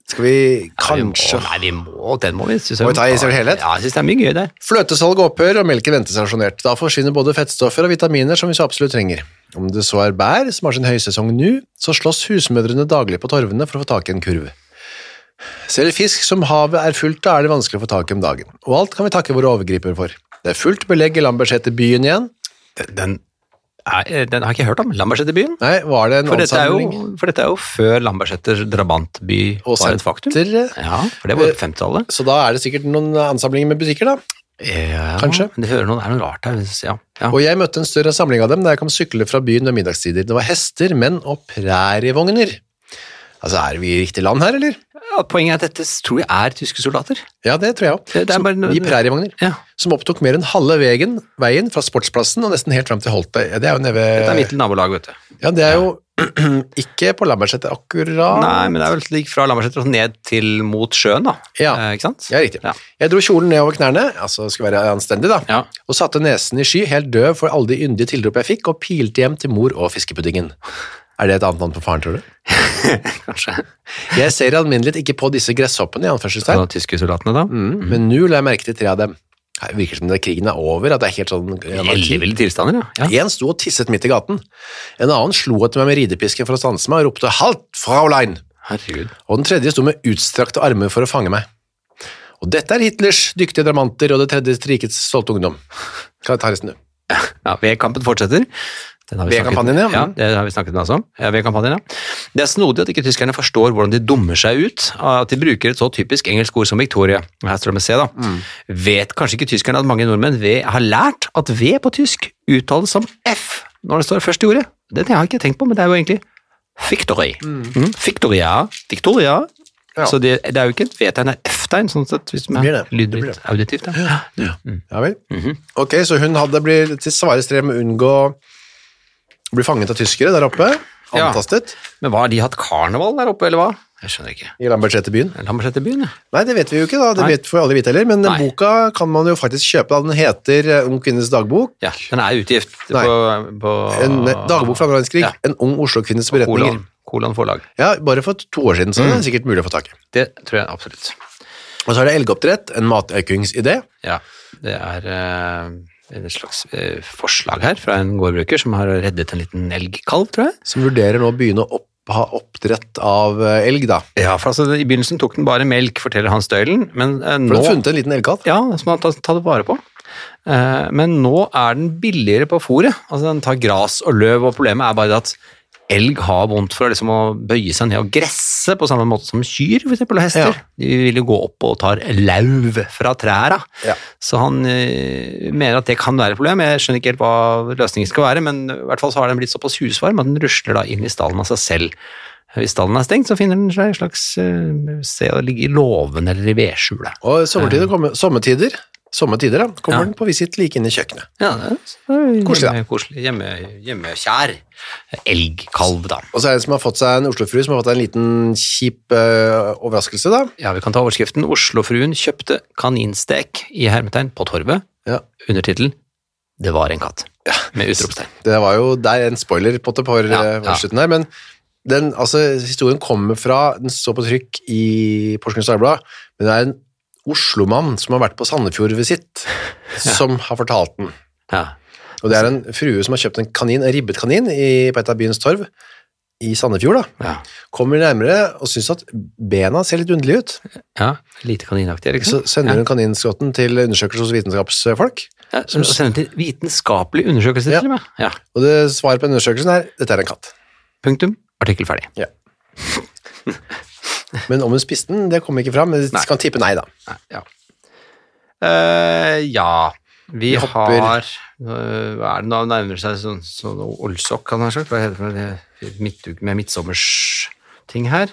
S2: Skal vi kanskje
S1: Nei, vi må, den må vi. synes jeg
S2: Må vi ta i sin helhet?
S1: Ja, jeg synes det er mye gøy der.
S2: Fløtesalget opphører, og melken ventes sanksjonert. Da forsvinner både fettstoffer og vitaminer som vi så absolutt trenger. Om det så er bær, som har sin høysesong nå, så slåss husmødrene daglig på torvene for å få tak i en kurv. Selv fisk som havet er fullt av, er det vanskelig å få tak i om dagen. Og alt kan vi takke våre overgripere for. Det er fullt belegg i Lambertseter byen igjen.
S1: Den, den, er, eh, den har jeg ikke hørt om. Lambertseter-byen?
S2: Nei, var det en
S1: For dette, er
S2: ansamling?
S1: jo, for dette er jo før Lambertseter drabantby
S2: Og Eh,
S1: var et faktum.
S2: senter.
S1: Ja, for det var jo på 50-tallet.
S2: Så da er det sikkert noen ansamlinger med butikker, da.
S1: Ja,
S2: Kanskje.
S1: Men det hører noe, det er noe rart her. hvis- Ja. Ja.
S2: Og jeg møtte en større samling av dem da jeg kom syklende fra byen ved middagstider. Det var hester, menn og prærievogner. Altså, er vi i riktig land her, eller?
S1: Ja, poenget er at dette tror jeg er tyske soldater.
S2: Ja, det tror jeg òg.
S1: Det- det er bare noe-
S2: I prærievogner.
S1: Ja.
S2: Som opptok mer enn halve veien, veien fra sportsplassen og nesten helt fram til Holte. Ja, det er jo nede ved
S1: Det er mitt lille nabolag, vet du.
S2: Ja, det er jo ikke på Lambertseter akkurat.
S1: Nei, men det er vel slik fra Lambertseter og ned til mot sjøen, da.
S2: Ja.
S1: Eh, ikke sant?
S2: Ja, riktig.
S1: Ja.
S2: Jeg dro kjolen ned over knærne, altså skulle være anstendig, da,
S1: Ja.
S2: og satte nesen i sky, helt døv for alle de yndige tilrop jeg fikk, og pilte hjem til mor og fiskepuddingen. Er det et annet navn på faren, tror du?
S1: Kanskje.
S2: Jeg ser i alminnelighet ikke på disse gresshoppene, i
S1: Så
S2: anførselstegn, Mm.
S1: da, tyske soldatene, da.
S2: men nå la jeg merke til tre av dem. Det virker som det krigen er over, at det er helt sånn anarki.
S1: Elleville tilstander, ja. ja.
S2: En sto og tisset midt i gaten. En annen slo etter meg med ridepisken for å stanse meg og ropte 'Halt, Fraulein!'
S1: Herregud.
S2: Og den tredje sto med utstrakte armer for å fange meg. Og dette er Hitlers dyktige dramanter og det tredje rikets stolte ungdom. Kan jeg ta resten, du?
S1: Ja, V-kampen fortsetter. Den har vi snakket-
S2: V-kampanjen, ja.
S1: ja. Det har vi snakket med oss om. Ja, V-kampanjen, ja. Det er snodig at ikke tyskerne forstår hvordan de dummer seg ut, at de bruker et så typisk engelsk ord som Victoria. Og Her står det med C, da.
S2: Mm.
S1: Vet kanskje ikke tyskerne at mange nordmenn ved, har lært at V på tysk uttales som F når det står først i ordet? Det har jeg ikke tenkt på, men det er jo egentlig Victory. Mm. Victoria. Victoria.
S2: Ja.
S1: Så det, det er jo ikke et V-tegn, det er F-tegn, sånn sett, hvis man
S2: blir det. Det blir
S1: lydbryt,
S2: det.
S1: auditivt. Ja. Mhm.
S2: Ja vel. Ok, så hun hadde blitt til svare strev med å unngå å bli fanget av tyskere der oppe.
S1: Ja.
S2: Antastet
S1: Men hva har de hatt karneval der oppe, eller hva? Jeg skjønner ikke.
S2: i Lambertseterbyen.
S1: Lambertseterbyen, ja.
S2: Nei, det vet vi jo ikke, da. Det
S1: Nei.
S2: vet får vi aldri vite heller. Men den
S1: Nei.
S2: boka kan man jo faktisk kjøpe. da. Den heter eh, Ung kvinnes dagbok.
S1: Ja, den er utgift
S2: Nei.
S1: på, på
S2: En eh, dagbok fra andre verdenskrig.
S1: Ah. Ja.
S2: En ung Oslo-kvinnes beretninger.
S1: Kolon, kolon forlag.
S2: Ja, bare for to år siden, så
S1: Mm.
S2: er det sikkert mulig å få tak i.
S1: Det tror jeg absolutt.
S2: Og så er det elgoppdrett, en matøkingsidé.
S1: Ja, det er eh, en slags eh, forslag her fra en gårdbruker som har reddet en liten elgkalv, tror jeg.
S2: som vurderer nå å begynne å opp, ha oppdrett av eh, elg, da.
S1: Ja, for altså, I begynnelsen tok den bare melk, forteller Hans Døylen, men eh,
S2: For
S1: nå
S2: de har funnet en liten elgkalv.
S1: Ja, som man tar, tar det vare på. Eh, men nå er den billigere på fôret. Altså, den tar gras og løv, og problemet er bare det at elg har vondt for å liksom, å bøye seg ned og gresse på samme måte som kyr for eksempel, og hester.
S2: Ja.
S1: De vil jo gå opp og tar lauv fra trærne.
S2: Ja.
S1: Så han eh, mener at det kan være et problem. Jeg skjønner ikke helt hva løsningen skal være, men i hvert fall så har den blitt såpass husvarm at den rusler da inn i stallen av seg selv. Hvis stallen er stengt, så finner den seg et slags eh, sted å ligge i låven eller i vedskjulet.
S2: Og sommertider kommer, sommertider, sommertider da, kommer
S1: Eh. Ja.
S2: den på visitt like inn i kjøkkenet.
S1: Ja, det er
S2: Koselig, da.
S1: hjemme, koselig. Hjemme, hjemmekjær. Elgkalv, da.
S2: Og så er det en som har fått seg en Oslofru som har fått seg en liten kjip eh, overraskelse, da.
S1: Ja, vi kan ta overskriften. Oslofruen kjøpte kaninstek i hermetegn på torvet.
S2: Ja.
S1: Undertittel Det var en katt. Med utropstegn.
S2: Det var jo det er en spoiler på det på eh,
S1: Ja, ja.
S2: overskriften der, men den, altså, historien kommer fra, den står på trykk i Porsgrunns Dagblad, men det er en Oslomann som har vært på Sandefjord-visitt, som har fortalt den.
S1: Ja.
S2: Og det er en frue som har kjøpt en kanin, en ribbet kanin i, på et av byens torv i Sandefjord. da.
S1: ja.
S2: Kommer nærmere og syns at bena ser litt underlige ut.
S1: ja. Lite kaninaktig, er det ikke
S2: Så sender hun kaninskrotten til undersøkelse hos vitenskapsfolk.
S1: Ja, så sender til vitenskapelig undersøkelse,
S2: Ja.
S1: til og med. Ja.
S2: Og det svaret på undersøkelsen er dette er en katt.
S1: Punktum. Artikkel ferdig.
S2: Men om hun spiste den, det kommer ikke fram. Men
S1: Nei.
S2: vi kan tippe nei, da.
S1: Nei, ja. Eh, ja. Vi,
S2: Vi hopper.
S1: har eh, Hva er det nå? Nærmer seg sånn, sånn olsokk, kan jeg ha sagt. Hva heter det for det? Midtug med midtsommers-ting her.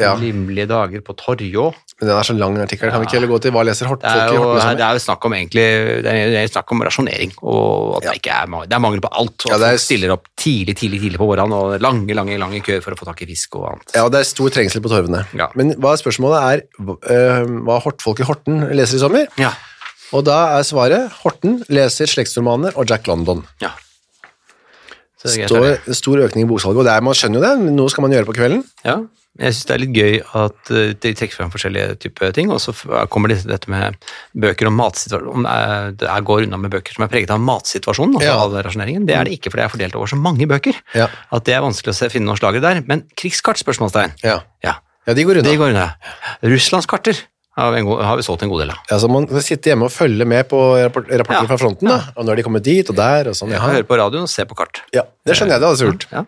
S2: Ja.
S1: Limlige dager på Torjå.
S2: Men den er så lang artikkel. Kan vi ikke heller gå til hva leser Hort?
S1: Det er,
S2: folk i
S1: jo,
S2: Horten
S1: her-
S2: som-
S1: det er jo snakk om egentlig Det er, det er snakk om rasjonering, og at det ikke er, ma- det er mangel på alt. Og
S2: Ja,
S1: at
S2: det er-
S1: folk stiller opp tidlig, tidlig tidlig på morgenen, og lange, lange lange køer for å få tak i fisk og annet.
S2: Ja, det er stor trengsel på torvene.
S1: Ja.
S2: Men hva er spørsmålet er hva- eh, hva Hortfolk i Horten leser i sommer.
S1: Ja.
S2: Og da er svaret Horten leser slektsromaner og Jack London.
S1: ja. Så det er greit, det.
S2: Stor, stor økning i boksalget, og det er, man skjønner jo det, men noe skal man gjøre på kvelden.
S1: Ja, jeg synes det er litt gøy at eh, de trekker frem forskjellige typer ting, og så f- eh, kommer det, dette med bøker om matsituasjonen, om eh, det er- går unna med bøker som er preget av matsituasjonen, altså
S2: Ja.
S1: all rasjoneringen. Det er det ikke, for det er fordelt over så mange bøker,
S2: Ja.
S1: at det er vanskelig å se, finne noen slagere der. Men krigskart, spørsmålstegn.
S2: Ja,
S1: Ja,
S2: de går unna.
S1: de går unna. Russlandskarter har vi, en god, har vi solgt en god del av.
S2: Altså, man skal sitte hjemme og følge med på rapport-
S1: Ja.
S2: rapporter fra fronten, da. og når de kommer dit og der, og sånn.
S1: Jeg
S2: Ja,
S1: hører på radioen og ser på kart.
S2: ja det skjønner jeg, det hadde jeg gjort.
S1: Ja.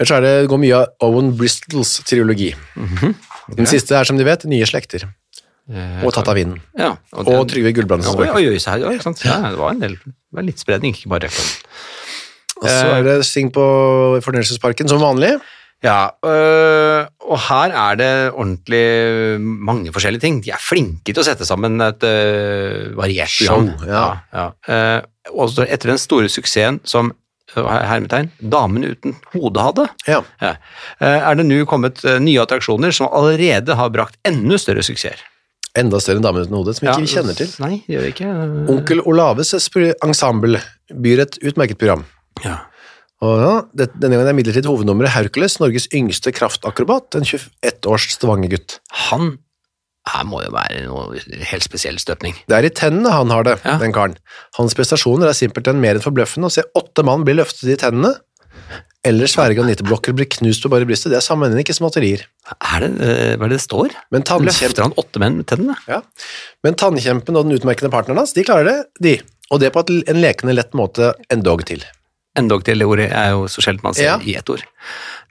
S2: Ellers er det, går mye av Owen Bristols triologi.
S1: Mhm.
S2: Den siste er, som de vet, Nye slekter,
S1: Eh,
S2: og Tatt av vinden,
S1: Ja, den-
S2: og Trygve Gullbrandsens
S1: Oi,
S2: bøker.
S1: oi, oi, så her, ja, ikke sant? Ja, det var en del, det var litt spredning, ikke bare reklam.
S2: Og så er det Sting på Fornøyelsesparken, som vanlig.
S1: Ja, øh, og her er det ordentlig mange forskjellige ting. De er flinke til å sette sammen et øh, variert
S2: Show, ja.
S1: ja, ja. Eh, og så etter den store suksessen som øh, hermetegn, damen uten hode hadde,
S2: Ja.
S1: ja, eh, er det nå kommet eh, nye attraksjoner som allerede har brakt enda større suksess.
S2: Enda større enn Damen uten hodet, som ikke vi kjenner til.
S1: Nei, det gjør vi ikke.
S2: Onkel Olaves spr- ensemble byr et utmerket program.
S1: Ja.
S2: Og ja, det, denne gangen er midlertid hovednummeret Hercules, Norges yngste kraftakrobat, en 21 års Stavanger-gutt.
S1: Han Her må jo være noe helt spesiell støpning.
S2: Det er i tennene han har det,
S1: Ja.
S2: den karen. Hans prestasjoner er simpelthen mer enn forbløffende. Å se åtte mann bli løftet i tennene, eller svære granittblokker blir knust på bare brystet, det er sammenlignet ikke småtterier.
S1: Er det, eh, hva er det det står?
S2: Men, tannkjemp,
S1: Løfter han åtte menn med tennene?
S2: ja. Men tannkjempen og den utmerkende partneren hans, de klarer det, de. Og det på et- en lekende lett måte endog til.
S1: Endog til det ordet er jo så sjelden man ser
S2: Ja.
S1: i ett ord.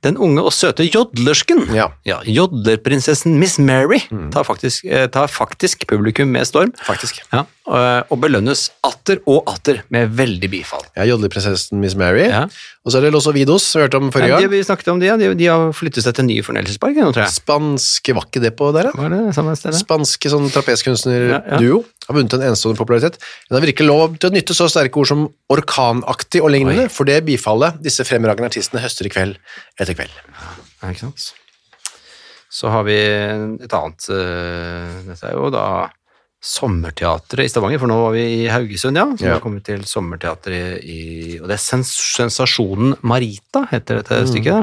S1: Den unge og søte jodlersken,
S2: Ja. Mm.
S1: jodlerprinsessen Miss Mary, tar, faktisk, eh, tar faktisk publikum med storm.
S2: Faktisk.
S1: Ja, eh, og- og belønnes atter og atter med veldig bifall.
S2: Ja, jodleprinsessen Miss Mary.
S1: Ja.
S2: Og så er det Los Ovidos, som vi hørte om forrige
S1: Ja, de,
S2: gang.
S1: vi snakket om de, ja. de, de har flyttet seg til nye fornøyelsespark nå, tror jeg.
S2: Spanske, var ikke det på der, da?
S1: Var det det samme stedet?
S2: Spanske
S1: Ja,
S2: sånn
S1: ja.
S2: trapeskunstner-duo har vunnet en enestående popularitet. Hun har virkelig lov til å nytte så sterke ord som orkanaktig og lignende, for det bifallet disse fremragende artistene høster i kveld etter kveld.
S1: Ja, ikke sant? Så har vi et annet eh, Dette er jo da Sommerteatret i Stavanger, for nå var vi i Haugesund, ja. Så
S2: Ja.
S1: nå kommer vi til Sommerteatret i Og det er sens Sensasjonen Marita, heter dette stykket. da.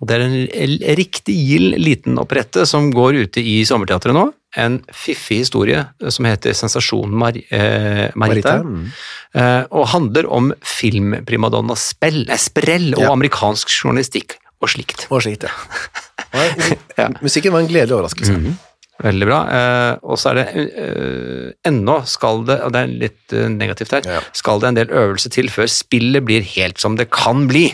S1: Og det er en l- riktig gild liten operette som går ute i Sommerteatret nå. En fiffig historie eh, som heter Sensasjonen Mar eh, Marita.
S2: Marita, mm.
S1: Eh, og handler om filmprimadonna Spell, eh, Sprell og
S2: Ja.
S1: amerikansk journalistikk og slikt.
S2: Og slikt, ja. Og, Musikken var en gledelig overraskelse.
S1: Mm. Veldig bra. Eh, og så er det eh, ennå skal det, og det er litt eh, negativt her,
S2: Ja.
S1: skal det en del øvelse til før spillet blir helt som det kan bli.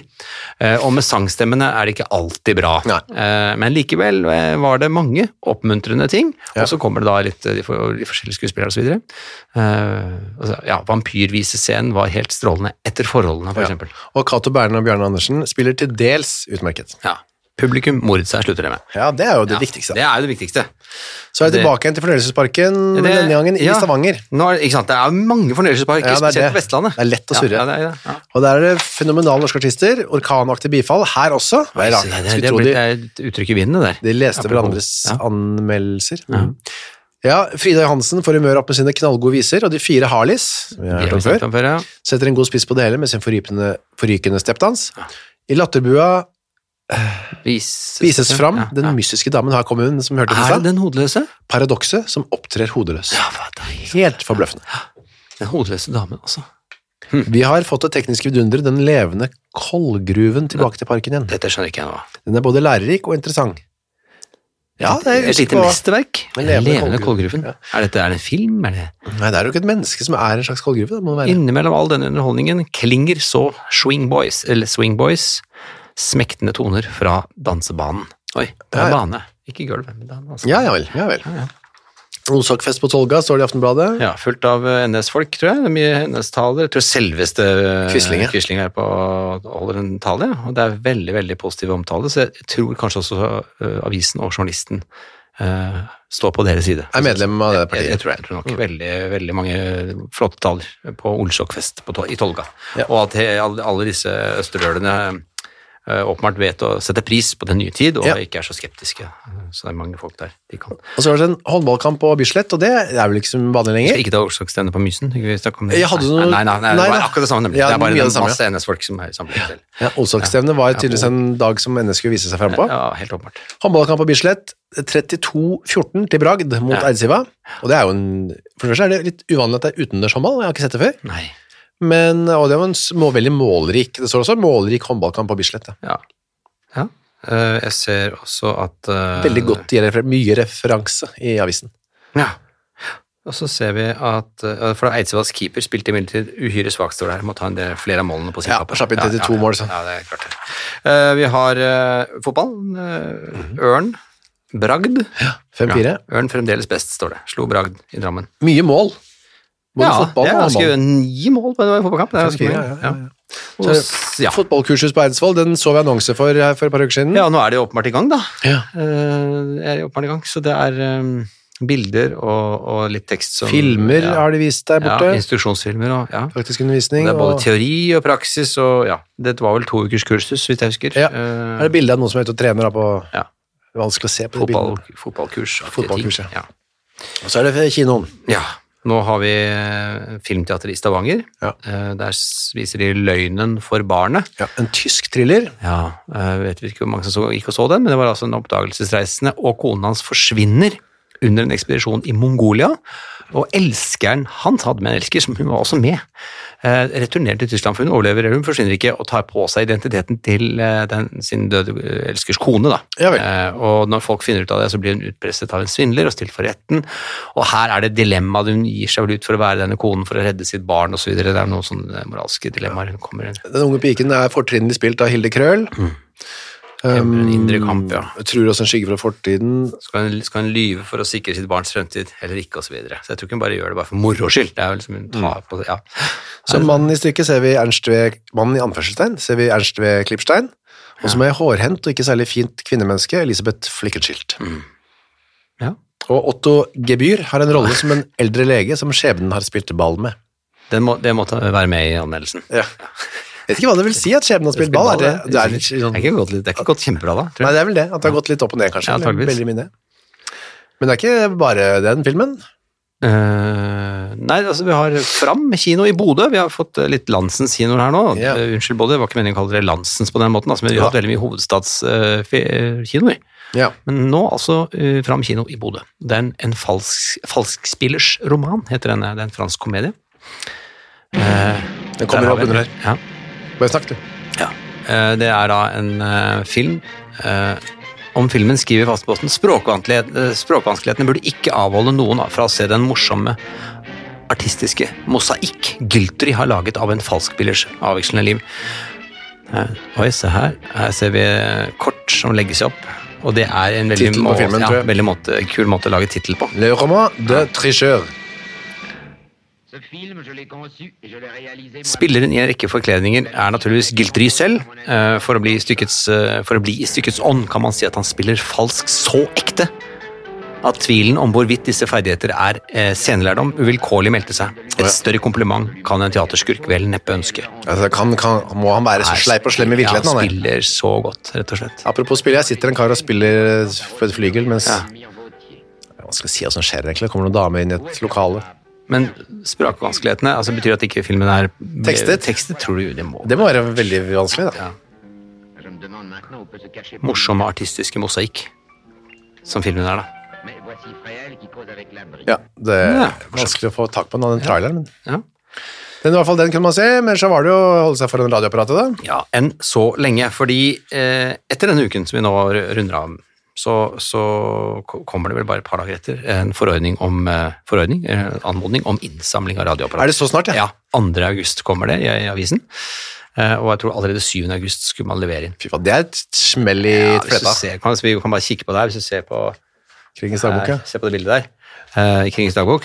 S1: Eh, og med sangstemmene er det ikke alltid bra.
S2: Nei.
S1: Eh, men likevel eh, var det mange oppmuntrende ting.
S2: Ja.
S1: Og så kommer det da litt eh, de, for, de forskjellige skuespillere osv. Eh, altså, ja, vampyrvisescenen var helt strålende etter forholdene, for
S2: Ja.
S1: eksempel.
S2: Og Cato Berner og Bjarne Andersen spiller til dels utmerket.
S1: Ja. Publikum moret seg, slutter det med.
S2: Ja, det er jo det
S1: Ja,
S2: viktigste.
S1: Det er jo det viktigste.
S2: Så er det
S1: det-
S2: tilbake igjen til fornøyelsesparken, men
S1: Det-
S2: denne gangen i
S1: ja.
S2: Stavanger.
S1: Nå er, det- ikke sant? Det er mange fornøyelsesparker,
S2: Ja, det er
S1: spesielt
S2: det.
S1: på Vestlandet.
S2: Det er lett å surre.
S1: Ja, ja, det er det. Ja.
S2: Og der er det fenomenale norske artister, orkanaktig bifall, her også. Hva er
S1: Det,
S2: rart?
S1: det,
S2: Skulle
S1: det,
S2: tro
S1: blir-
S2: de-
S1: det er et uttrykk i vinden, det der.
S2: De leste
S1: Apropos.
S2: hverandres
S1: Ja.
S2: anmeldelser. Mhm. Ja, Frida Johansen får humør opp med sine knallgode viser, og de fire Harleys som vi har
S1: Det har
S2: hørt
S1: vi
S2: om
S1: snakket
S2: før,
S1: om før, ja.
S2: setter en god spiss på det hele med sin forrykende, forrykende steppdans. I latterbua
S1: Vises,
S2: vises fram
S1: ja,
S2: den
S1: ja.
S2: mystiske damen har kommet inn, som vi hørte om i
S1: Er det
S2: stad.
S1: den hodeløse?
S2: Paradokset som opptrer hodeløs.
S1: Ja, hva da?
S2: Helt forbløffende.
S1: Den hodeløse damen, altså.
S2: Vi har fått det tekniske vidunderet, den levende kollgruven, tilbake til parken igjen.
S1: Dette skjønner ikke jeg nå.
S2: Den er både lærerik og interessant. Ja, det er
S1: Et lite mesterverk. Den
S2: Den levende
S1: levende
S2: kålgruven.
S1: kålgruven. Er dette er det en film? Er det?
S2: Nei, det er jo ikke et menneske som er en slags kollgruve, det må det være.
S1: Innimellom all denne underholdningen klinger så Swing Boys, eller Swing Boys, smektende toner fra dansebanen. Oi, det
S2: Ja,
S1: er
S2: ja.
S1: bane. Ikke gulvet, men det er en dansebane.
S2: Ja, ja vel. Ja, vel. Osakfest på Tolga, står det i Aftenbladet.
S1: Ja, fullt av eh, NS-folk, tror jeg. Det er mye NS-taler. Jeg tror selveste eh,
S2: Quisling, ja.
S1: Quisling er på holder en tale, ja. og det er veldig, veldig positiv omtale, så jeg tror kanskje også eh, avisen og journalisten eh, står på deres side.
S2: er medlem av det
S1: Jeg,
S2: partiet.
S1: jeg, tror, jeg tror nok veldig, veldig mange flotte taler på Olsokfest på Tol- i Tolga.
S2: Ja.
S1: Og at he, alle, alle disse østerdølene eh, åpenbart vet å sette pris på den nye tid, og
S2: Ja.
S1: ikke er så skeptiske. Så det er mange folk der. De kan.
S2: Og så var det en håndballkamp på Bislett, og det er vel ikke som vanlig
S1: Skal
S2: lenger.
S1: ikke ta årsaksstevne på Mysen? Ikke vi snakke om det?
S2: Jeg hadde
S1: nei,
S2: noe-
S1: nei, nei, nei,
S2: Nei,
S1: det var
S2: nei.
S1: akkurat det samme, nemlig.
S2: Ja,
S1: det er bare
S2: mye av
S1: en
S2: det samme,
S1: masse NS-folk som er samlet til.
S2: Ja, Olsakstevnet var tydeligvis en dag som NS skulle vise seg frem på.
S1: Ja, helt åpenbart.
S2: Håndballkamp på Bislett, 32-14 til Bragd mot
S1: Ja.
S2: Eidsiva. Og det er jo en For det første er det litt uvanlig at det er utendørs håndball, jeg har ikke sett det før.
S1: Nei.
S2: Men, og det var en små, veldig målrik Det står også målrik håndballkamp på Bislett.
S1: Ja.
S2: Ja.
S1: ja. Eh, jeg ser også at eh,
S2: Veldig godt, gir refer mye referanse i avisen.
S1: Ja. Og så ser vi at eh, For Eidsvalls keeper spilte imidlertid uhyre svakt, står det her. Må ta en del, flere av målene på sin
S2: Ja,
S1: kappe.
S2: slapp inn 32
S1: ja, ja.
S2: mål, liksom. så.
S1: Ja, det er klart det. Eh, vi har eh, fotball. eh,
S2: Mhm.
S1: Ørn. Bragd.
S2: 5-4.
S1: Ørn fremdeles best, står det. Slo Bragd i Drammen.
S2: Mye mål. Både
S1: ja,
S2: fotball
S1: det
S2: og
S1: er
S2: håndball.
S1: ganske ni mål på en fotballkamp. Det er ganske
S2: 5-4,
S1: mye. Ja.
S2: ja, ja,
S1: Og s- ja.
S2: Fotballkursus på Eidsvoll, den så vi annonse for her for et par uker siden.
S1: ja, nå er det jo åpenbart i gang, da.
S2: Ja.
S1: Eh, er det åpenbart i gang, Så det er eh, bilder og, og litt tekst som
S2: Filmer
S1: ja,
S2: har de vist der borte.
S1: Ja, instruksjonsfilmer og ja.
S2: Praktisk undervisning.
S1: Det er både
S2: Og
S1: teori og praksis og ja. Dette var vel to ukers kursus, så vidt jeg husker.
S2: Ja.
S1: Eh,
S2: er det bilde av noen som er ute og trener da, på
S1: Ja.
S2: Vanskelig å se på de
S1: fotball,
S2: bildene.
S1: fotballkurs. aktige
S2: Fotballkurs,
S1: ting. ja.
S2: Og så er det kinoen.
S1: Ja. Nå har vi eh, filmteater i Stavanger.
S2: Ja.
S1: Eh, Der s- viser de Løgnen for barnet.
S2: Ja, en tysk thriller.
S1: Ja, eh, jeg vet ikke hvor mange som så, gikk og så den, men det var altså en oppdagelsesreisende, og konen hans forsvinner under en ekspedisjon i Mongolia, og elskeren hans hadde med en elsker, som hun var også med, eh, returnerer til Tyskland, for hun overlever, eller hun forsvinner ikke, og tar på seg identiteten til eh, den, sin døde eh, elskers kone. Da.
S2: Ja vel.
S1: Eh, og når folk finner ut av det, så blir hun utpresset av en svindler og stilt for retten, og her er det dilemmaet hun gir seg vel ut for å være denne konen for å redde sitt barn, og så videre. Det er noen sånne eh, moralske dilemmaer hun kommer inn i.
S2: Den unge piken er fortrinnelig spilt av Hilde Krøll. Um,
S1: Kjemper en indre kamp, ja.
S2: Jeg tror også en skygge fra fortiden.
S1: Skal hun, skal hun lyve for å sikre sitt barns fremtid, eller ikke, osv. Så, videre. så jeg tror ikke hun bare gjør det bare for moro skyld. Det er jo liksom hun
S2: Mm.
S1: tar på ja.
S2: Så mannen i stykket ser vi Ernst V. Mannen i anførselstegn ser vi Ernst V. Klippstein. Og som er hårhendt og ikke særlig fint kvinnemenneske, Elisabeth Flikkenskilt.
S1: ja.
S2: Og Otto Gebyr har en rolle som en eldre lege som skjebnen har spilt ball med.
S1: Den må, det måtte være med i anmeldelsen.
S2: Ja. Jeg vet ikke hva det vil si at skjebnen har spilt ball. Er det, det, er litt,
S1: Det
S2: sånn,
S1: er ikke gått, litt- det er ikke gått kjempebra, da.
S2: nei,
S1: Tror jeg.
S2: det er vel det. At det har gått litt opp og ned, kanskje.
S1: Ja,
S2: eller
S1: antageligvis.
S2: veldig mye ned. Men det er ikke bare den filmen.
S1: Eh, nei, altså vi har Fram kino i Bodø. Vi har fått eh, litt Landsens kinoer her nå.
S2: Ja.
S1: Eh, unnskyld, Bodø. Det var ikke meningen å kalle dere Landsens på den måten, altså, men vi har
S2: Ja.
S1: hatt veldig mye eh, hovedstadskinoer.
S2: Ja.
S1: men nå altså eh, Fram kino i Bodø. Det er en, en falsk, falskspillers roman, heter denne. Det er en fransk komedie.
S2: Den kommer
S1: har
S2: opp
S1: vi den.
S2: under her.
S1: Ja.
S2: Bare snakk, du.
S1: Ja. Eh, Det er da en eh, film. eh, Om filmen skriver Fastposten språkvanskeligheten- eh, språkvanskelighetene burde ikke avholde noen fra å se den morsomme artistiske mosaikk Gyltry har laget av en falskbillers avvekslende liv. Eh, Oi, se her. Her ser vi eh, kort som legges opp. Og det er en veldig,
S2: Tittelen på filmen,
S1: ja,
S2: tror jeg.
S1: veldig måte, kul måte å lage tittel på.
S2: Le roman de tricheur.
S3: Ce film, je l'ai conçu et je l'ai réalisé moi-même.
S1: Spilleren i en rekke forkledninger er naturligvis Giltry selv. Eh, For å, bli i stykkets, eh, for å bli i stykkets ånd kan man si at han spiller falsk så ekte at tvilen om hvorvidt disse ferdigheter er eh, scenelærdom, uvilkårlig meldte seg. Et større kompliment kan en teaterskurk vel neppe ønske.
S2: Altså, kan, kan, må han være så sleip og slem i virkeligheten?
S1: Ja,
S2: han
S1: han
S2: er?
S1: spiller så godt, rett og slett.
S2: Apropos spill, jeg sitter en kar og spiller eh, på et flygel, mens Hva skal jeg si hva som skjer egentlig? Det Kommer noen dame inn i et lokale?
S1: Men språkvanskelighetene altså, betyr at ikke filmen er ble-
S2: Tekstet?
S1: Tekstet tror du det må.
S2: Det må være veldig vanskelig, da.
S3: Je me demande maintenant où peut se cacher.
S1: Morsomme artistiske mosaikk, som filmen er, da.
S3: Mais voici Fréhel qui cause avec la brique.
S2: Ja, det
S1: Ja.
S2: er vanskelig å få tak på den av den traileren, men
S1: Ja.
S2: den, i hvert fall, den kunne man se, men så var det jo å holde seg foran radioapparatet, da.
S1: Ja, enn så lenge. Fordi eh, etter denne uken som vi nå ru- runder av, så, så ko- kommer det vel bare et par dager etter en forordning om eh, forordning, eh, anmodning om innsamling av
S2: Er
S1: radioapparater.
S2: det så snart,
S1: Ja, 2. august kommer det i, i avisen. Eh, og jeg tror allerede 7. august skulle man levere inn.
S2: Fy faen, det er et smell i
S1: Ja, hvis du
S2: fløyta.
S1: ser, kan, vi kan bare kikke på det her, hvis du ser på,
S2: Krigens dagbok,
S1: her,
S2: ja.
S1: ser på det bildet der. Eh, I Krigens dagbok.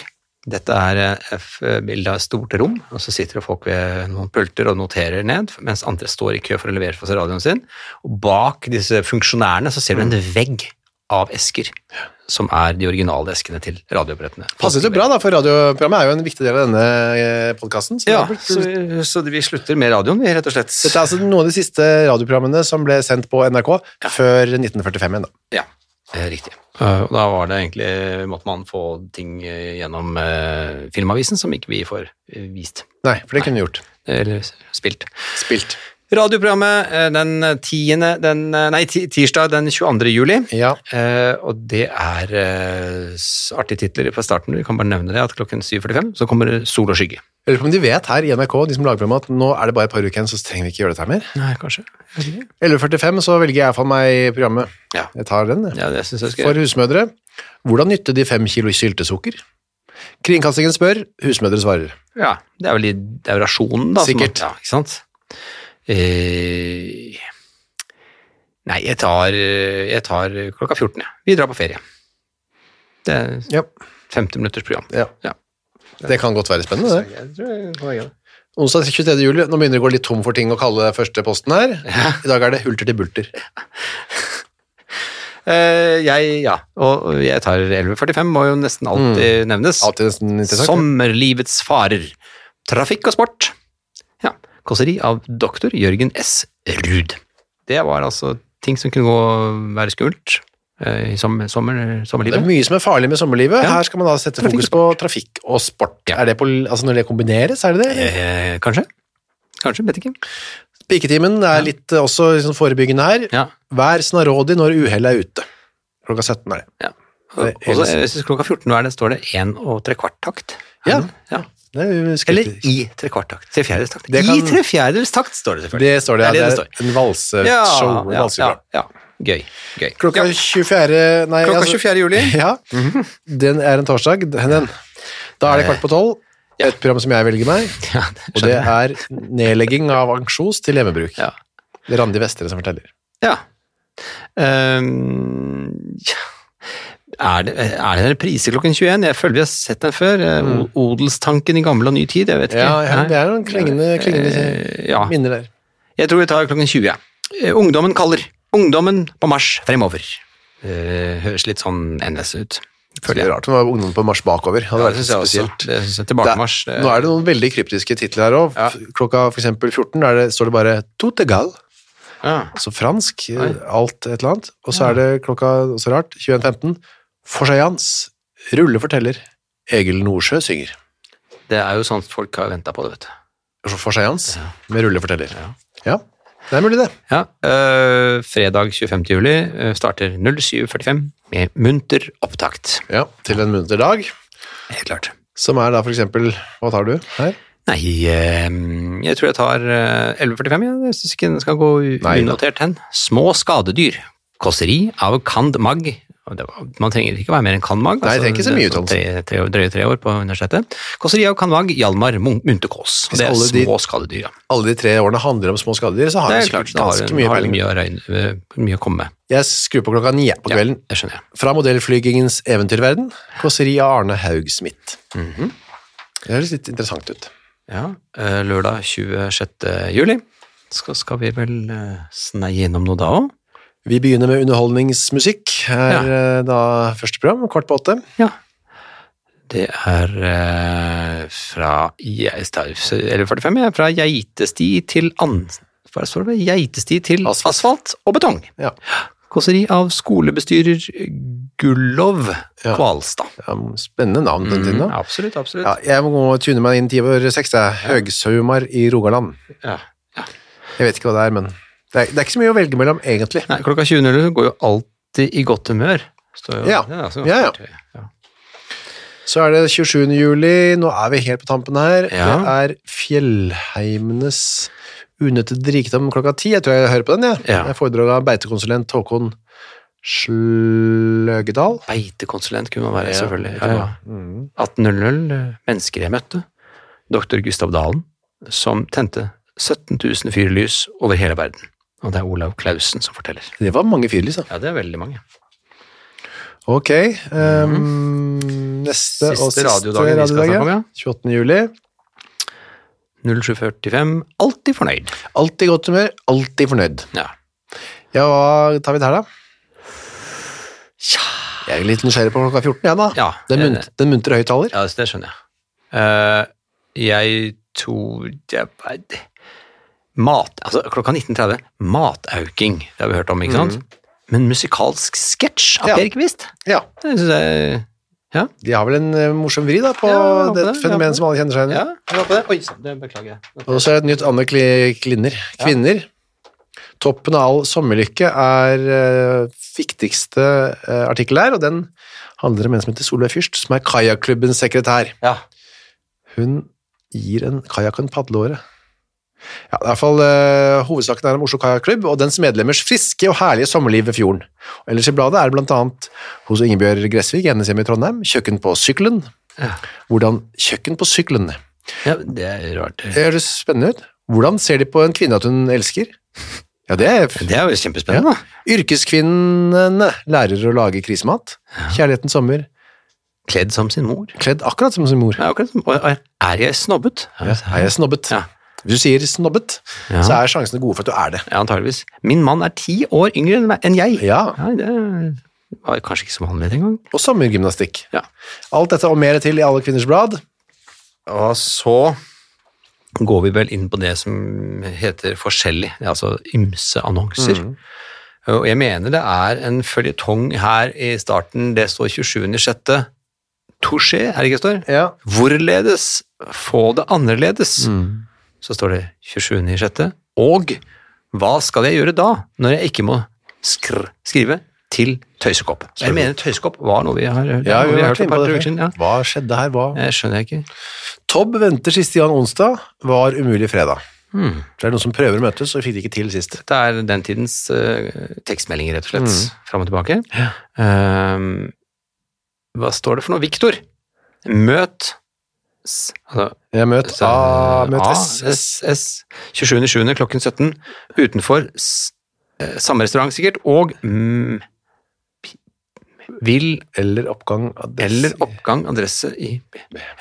S1: Dette er eh, f- bildet av et stort rom, og så sitter det folk ved noen pulter og noterer ned, mens andre står i kø for å levere for seg radioen sin. Og bak disse funksjonærene så ser du en vegg av esker, som er de originale eskene til radioapparatettene.
S2: Passet jo bra, da, for radioprogrammet er jo en viktig del av denne eh, podkasten.
S1: Ja, så, så vi slutter med radioen, vi, rett og slett.
S2: Dette er altså noen av de siste radioprogrammene som ble sendt på NRK før 1945 igjen, da.
S1: Ja, eh, riktig. Eh, Og da var det egentlig, måtte man få ting eh, gjennom eh, Filmavisen som ikke vi får eh, vist,
S2: Nei, for det kunne vi gjort.
S1: eller spilt.
S2: Spilt.
S1: Radioprogrammet eh, den 10. Den, eh, nei, ti- tirsdag den 22. juli.
S2: Ja.
S1: Eh, og det er eh, s- artige titler fra starten. Vi kan bare nevne det at klokken 7.45 så kommer det Sol og skygge.
S2: Jeg lurer på om de vet her i NRK, de som lager programmet, at nå er det bare et par uker igjen, så trenger vi ikke gjøre dette her mer.
S1: Nei, kanskje.
S2: 11.45 så velger jeg for meg programmet.
S1: Ja.
S2: Jeg tar den, jeg.
S1: Ja, det synes jeg skal
S2: For husmødre. Hvordan nytte de fem kilo syltesukker? Kringkastingen spør, husmødre svarer.
S1: Ja, det er vel i det er jo rasjonen, da. som-
S2: Sikkert.
S1: ja, ikke sant? Eh, nei, jeg tar, eh, jeg tar klokka 14, ja. Vi drar på ferie. Det er
S2: Ja.
S1: 50 minutters program.
S2: Ja.
S1: Ja.
S2: Det kan godt være spennende, det.
S1: Jeg tror jeg går igjen.
S2: Onsdag 23. juli, nå begynner det å gå litt tom for ting å kalle første posten her. I dag er det hulter til bulter.
S1: Eh, jeg, ja. Og og jeg tar 11.45, må jo nesten alltid nevnes.
S2: Mm. Alltid nesten interessant.
S1: Sommerlivets farer. Trafikk og sport. Ja. Kåseri av doktor Jørgen S. Ruud. Det var altså ting som kunne gå være skummelt eh, i som, sommer,
S2: Det er
S1: sommerlivet.
S2: mye som er farlig med sommerlivet.
S1: Ja.
S2: Her skal man da sette
S1: Trafikk og
S2: fokus på trafikk og sport.
S1: Ja.
S2: Er det på, altså når det kombineres, er det det? eller?
S1: Eh, kanskje? Kanskje, vet ikke.
S2: Piketimen er litt eh, også liksom forebyggende her.
S1: Ja.
S2: Vær snarådig når uhellet er ute. Klokka 17 er det.
S1: ja.
S2: Nei,
S1: Og så, jeg synes klokka 14 hver, det står det én og trekvart-takt.
S2: Ja.
S1: ja.
S2: Det er jo skeptisk.
S1: Eller i trekvart-takt. Trefjerdedelstakt.
S2: Det
S1: I
S2: kan-
S1: trefjerdedelstakt står det selvfølgelig.
S2: Det står det, ja.
S1: Det
S2: Det
S1: er
S2: er,
S1: det det
S2: en valseshow. en
S1: ja, ja,
S2: valseprogram.
S1: ja. Gøy. Gøy.
S2: Klokka 24. Nei,
S1: Klokka
S2: altså-
S1: 24. juli. Mhm.
S2: Ja. Den er en torsdag. Den, den. Da er det kvart på tolv. Et program som jeg velger meg,
S1: Eh, Ja,
S2: og det er nedlegging av ansjos til hjemmebruk.
S1: Ja.
S2: Det er Randi Vestre som forteller.
S1: Ja. Ehm, ja. Er det, er det en reprise klokken 21? Jeg føler vi har sett den før. Eh, O- Odelstanken i gammel og ny tid, jeg vet ikke.
S2: Mm. Ja, ja,
S1: Nei.
S2: det er noen klingende, klingende
S1: Eh, ja.
S2: minner der.
S1: Jeg tror vi tar klokken 20. Eh, Ungdommen kaller. Ungdommen på marsj fremover. Eh, høres litt sånn NS ut,
S2: Det
S1: føler
S2: er
S1: jeg.
S2: rart om det var ungdom på marsj bakover. Hadde
S1: Ja,
S2: vært
S1: det synes jeg også.
S2: spesielt.
S1: Det synes jeg. Tilbakemarsj.
S2: Det er- Nå er det noen veldig kryptiske titler her òg.
S1: eh. Ja.
S2: Klokka for eksempel 14 er det, står det bare Tote Gall,
S1: ja.
S2: altså fransk, eh,
S1: Oi.
S2: alt et eller annet. Og så er det klokka, også rart, 21.15, Forseians, Rulle forteller, Egil Nordsjø synger.
S1: det er jo sånn at folk har venta på det, vet du.
S2: Forseians Altså med Rulle forteller. Ja. det er mulig det.
S1: Ja, eh, Fredag 25. juli eh, starter 07.45 med munter opptakt.
S2: Ja, til en munter dag,
S1: Helt klart.
S2: som er da for eksempel, hva tar du her?
S1: Nei, eh, jeg tror jeg tar eh, 11.45. ja. Jeg syns ikke den skal gå u-
S2: Nei da.
S1: unotert hen. Små skadedyr. Kåseri av cand. mag. Og det var- Man trenger ikke være mer enn cand. mag. altså,
S2: Nei, det trenger ikke så mye uttalelse.
S1: tre, tre, år- Drøye tre år på universitetet. Kåseri av cand. mag. Hjalmar Mun- Munterkaas. Og Det er
S2: Hvis alle de-
S1: små skadedyr, ja.
S2: Alle de tre årene handler om små skadedyr, så har
S1: Det
S2: jeg
S1: er klart,
S2: sikkert
S1: da har
S2: ganske
S1: hun
S2: mye
S1: har hun
S2: peiling.
S1: mye, å regne- eh, mye å komme med.
S2: Jeg skrur på klokka ni på
S1: Ja,
S2: kvelden.
S1: det skjønner jeg.
S2: Fra modellflygingens eventyrverden, kåseri av Arne Haug Smith. Det høres litt interessant ut.
S1: Ja, eh, lørdag 26. juli. Skal, skal vi vel eh, sneie innom noe da òg?
S2: Vi begynner med underholdningsmusikk. Her eh, da første program, kvart på åtte.
S1: Ja. Det er eh, fra jeg, tar- eller 45, ja, fra geitesti til an... Hva står det? Geitesti til asfalt,
S2: Asfalt.
S1: og betong.
S2: Ja.
S1: Kåseri av skolebestyrer Gullov
S2: Ja.
S1: Kvalstad.
S2: Ja, spennende navn på den tiden.
S1: Mm,
S2: da.
S1: absolutt, absolutt.
S2: Ja, jeg må gå og tune meg inn ti over seks. Det er Høgshaumar i Rogaland.
S1: Ja.
S2: Jeg vet ikke hva det er, men det er, det er ikke så mye å velge mellom, egentlig.
S1: Nei, klokka 20.00 går jo alltid i godt humør. Står jo,
S2: Ja.
S1: så-
S2: Ja, ja. Så er det 27. juli. Nå er vi helt på tampen her.
S1: Ja.
S2: Det er Fjellheimenes unøttet rikdom klokka ti. Jeg tror jeg hører på den, jeg.
S1: Ja.
S2: Det er foredrag av beitekonsulent Håkon Sløgedal.
S1: Beitekonsulent kunne man være,
S2: Ja,
S1: selvfølgelig.
S2: ikke
S1: Ja, ja.
S2: bra. Mm.
S1: 1800, eh, mennesker jeg møtte, doktor Gustav Dalen, som tente 17 000 fyrlys over hele verden. Og det er Olav Klausen som forteller.
S2: Det var mange fyrlys, da.
S1: Ja, det er veldig mange.
S2: Ok. ehm, Neste og
S1: Mhm. Siste
S2: siste
S1: radiodagen vi skal
S2: radiodag,
S1: snakke om, ja.
S2: 28. juli.
S1: 0745, alltid fornøyd.
S2: Alltid godt humør, alltid fornøyd.
S1: Ja.
S2: Ja, hva tar vi der, da? Jeg er litt nysgjerrig på klokka 14, jeg, da.
S1: Ja,
S2: den,
S1: jeg-
S2: munt, den muntre høyttaler.
S1: ja, det skjønner jeg. Eh, jeg tror jeg, bare- Mat, altså klokka 19.30, matauking, det har vi hørt om, ikke sant? Men musikalsk sketsj av
S2: Ja.
S1: Per Kvist,
S2: Ja.
S1: det synes jeg
S2: De har vel en eh, morsom vri da, på
S1: Ja, jeg håper
S2: det
S1: det, jeg håper
S2: fenomenet som alle kjenner seg igjen i.
S1: Ja, jeg var på det. Oi, sann, det beklager jeg.
S2: Og så er det et nytt Anne Kli- Klinner. Kvinner. Toppen av all sommerlykke er eh, viktigste eh, artikkel her, og den handler om en som heter Solveig Fyrst, som er kajakklubbens sekretær.
S1: Ja.
S2: Hun gir en kajakk en padleåre. Ja, det er i hvert fall eh, Hovedsaken er om Oslo Kajakklubb og dens medlemmers friske og herlige sommerliv ved fjorden. Og ellers i bladet er det bl.a. hos Ingebjørg Gressvik, hennes hjemme i Trondheim, kjøkken på sykkelen.
S1: Ja.
S2: Hvordan kjøkken på sykkelen
S1: Ja, det er rart.
S2: Det høres spennende ut. Hvordan ser de på en kvinne at hun elsker? Ja, det er
S1: Det er jo kjempespennende, da.
S2: Yrkeskvinnene lærer å lage krisemat. Kjærlighetens sommer.
S1: Kledd som sin mor.
S2: Kledd akkurat som sin mor.
S1: Ja, akkurat som, og er er jeg snobbet?
S2: Ja, er jeg snobbet?
S1: Ja.
S2: Hvis du sier snobbet,
S1: Ja.
S2: så er sjansene gode for at du er det.
S1: Ja, antageligvis. Min mann er ti år yngre enn meg- enn jeg.
S2: Ja,
S1: Nei, det var kanskje ikke så vanlig engang.
S2: og sommergymnastikk.
S1: Ja.
S2: Alt dette og mer til i Alle kvinners blad.
S1: Og så går vi vel inn på det som heter forskjellig, det er altså ymse annonser. Og jeg mener det er en føljetong her i starten, det står 27.6. Touché, er det ikke det står?
S2: Ja.
S1: Hvorledes få det annerledes? Så står det 27.6. Og hva skal jeg gjøre da, når jeg ikke må skr skrive til tøysekopp. Så jeg mener tøysekopp var noe vi har, det
S2: Ja,
S1: er noe
S2: vi
S1: vi
S2: har
S1: har hørt
S2: vært inne
S1: for
S2: på
S1: et par
S2: det
S1: uker siden. Ja.
S2: før. Hva skjedde her? Hva?
S1: Jeg skjønner jeg ikke.
S2: Tobb venter siste Jan onsdag, var umulig fredag. Det er noen som prøver å møtes, og fikk det ikke til sist.
S1: Hmm. Det er den tidens eh, tekstmeldinger, rett og slett.
S2: Mm.
S1: Fram og tilbake. Ehm, hva står det for noe? Viktor! Møt s- altså,
S2: Jeg møt
S1: så-
S2: A, møt
S1: A,
S2: S.
S1: S, S. 27.7. klokken 17 utenfor s, eh, samme restaurant, sikkert, og mm, pi- vil
S2: Eller oppgang adresse.
S1: eller oppgang adresse i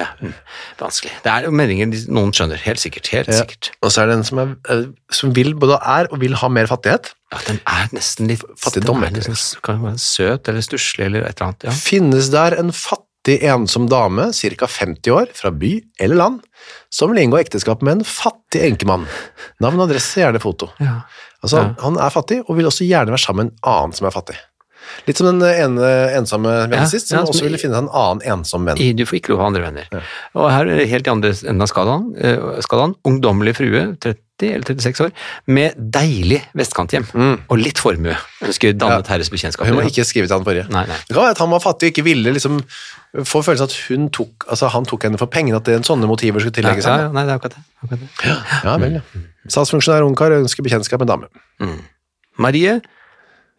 S1: ja, mm, Vanskelig. Det er jo meningen de- noen skjønner. Helt sikkert. Helt
S2: Ja.
S1: sikkert.
S2: Og så er det en som, er, eh, som vil, både er og vil ha mer fattighet.
S1: Ja, den er nesten litt
S2: Fattigdom,
S1: den er liksom, kan være søt eller stusslig eller et eller annet. Ja.
S2: Finnes der en fattig, ensom dame, ca. 50 år, fra by eller land, som vil inngå ekteskap med en fattig enkemann. Navn, adresse, gjerne foto.
S1: Ja.
S2: Altså, han- Han er fattig, og vil også gjerne være sammen med en annen som er fattig. Litt som den ene ensomme vennen
S1: Ja,
S2: sist, som
S1: ja, som
S2: også ville
S1: i-
S2: finne seg en annen ensom venn.
S1: I- Du får ikke lov å ha andre venner. Og her er det helt i andre enden av skalaen. eh, skalaen. Ungdommelig frue, 30 eller 36 år, med deilig vestkanthjem
S2: Mm.
S1: og litt formue. Ønsker dannet herres bekjentskap.
S2: Hun må ikke skrive til han forrige.
S1: Nei, nei.
S2: Det kan være at han var fattig og ikke ville liksom få følelsen at hun tok, altså han tok henne for pengene, at det er en sånne motiver skulle
S1: Ja,
S2: tillegges
S1: ja, ja,
S2: henne.
S1: nei, det er akkurat det. Akkurat det.
S2: Ja, vel, ja. Statsfunksjonær ungkar ønsker bekjentskap med dame.
S1: Marie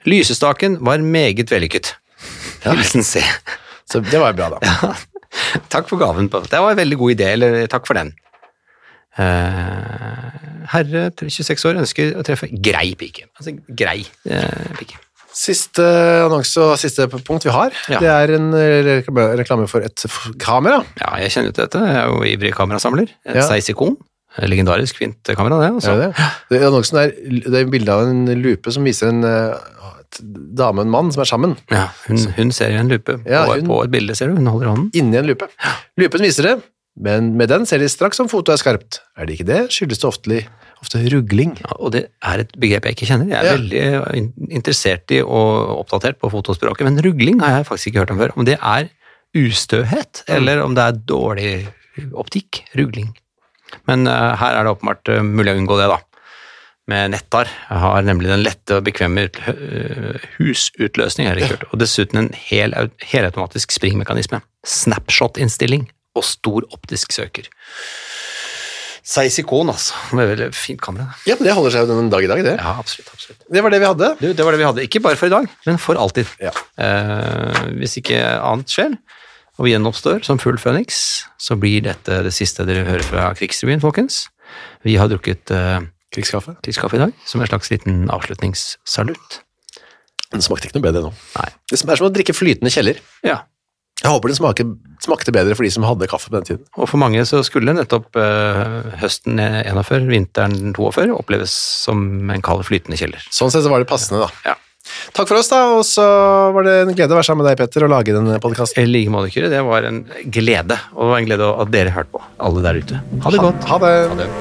S1: Lysestaken var meget vellykket. Hilsen C.
S2: Så det var jo bra, da.
S1: Takk for gaven. på Det var en veldig god idé, eller takk for den. Eh, herre, 26 år, ønsker å treffe grei pike. Altså grei eh, pike.
S2: Siste annonse og siste punkt vi har,
S1: Ja.
S2: det er en eh, reklame- reklame for et f- kamera.
S1: Ja, jeg kjenner jo til dette. Jeg er jo ivrig kamerasamler. Et
S2: Ja.
S1: Zeiss-ikon. Et Legendarisk fint kamera, det. Altså.
S2: Er det det? det? Annonsen er, det er bilde av en lupe som viser en eh, et dame og en mann som er sammen,
S1: Ja, hun, hun ser i en lupe
S2: Ja,
S1: på,
S2: hun-
S1: på et bilde, ser du. Hun holder hånden.
S2: inni en lupe. Lupen viser det, men med den ser de straks om fotoet er skarpt. Er det ikke det, skyldes det ofte, ofte rugling.
S1: Ja, og det er et begrep jeg ikke kjenner. Jeg er
S2: Ja.
S1: veldig eh, in- interessert i og oppdatert på fotospråket, men rugling har jeg faktisk ikke hørt om før. Om det er ustøhet, eller om det er dårlig optikk. Rugling. Men eh, her er det åpenbart eh, mulig å unngå det, da. Med nettar. Jeg har nemlig den lette og bekvemme ut, eh, husutløsning, har jeg hørt. Og dessuten en hel, helautomatisk springmekanisme. Snapshot-innstilling og stor optisk søker. Seis ikon, altså. Det er veldig fint kamera. det.
S2: Ja, men det holder seg jo den dag i dag, det.
S1: Ja, absolutt. absolutt.
S2: Det var det vi hadde.
S1: Du, det var det vi hadde. Ikke bare for i dag, men for alltid.
S2: Ja.
S1: Eh, hvis ikke annet skjer, og vi gjenoppstår som full føniks, så blir dette det siste dere hører fra Krigsrevyen, folkens. Vi har drukket eh,
S2: Krigskaffe.
S1: krigskaffe i dag, som en slags liten avslutningssalutt.
S2: Den smakte ikke noe bedre nå.
S1: Nei.
S2: Det sm- er som å drikke flytende kjeller.
S1: Ja,
S2: Jeg håper den smaker, smakte bedre for de som hadde kaffe på den tiden.
S1: og for mange så skulle nettopp eh, høsten 41, vinteren 42, oppleves som en kald flytende kjeller.
S2: Sånn sett så var det passende, da.
S1: Ja.
S2: Takk for oss, da, og så var det en glede å være sammen med deg, Petter, og lage denne podkasten.
S1: I like måte, Kyrre. Det var en glede, og det var en glede at dere hørte på, alle der ute. Ha det godt.
S2: Ha det.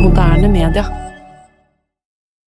S4: Moderne media.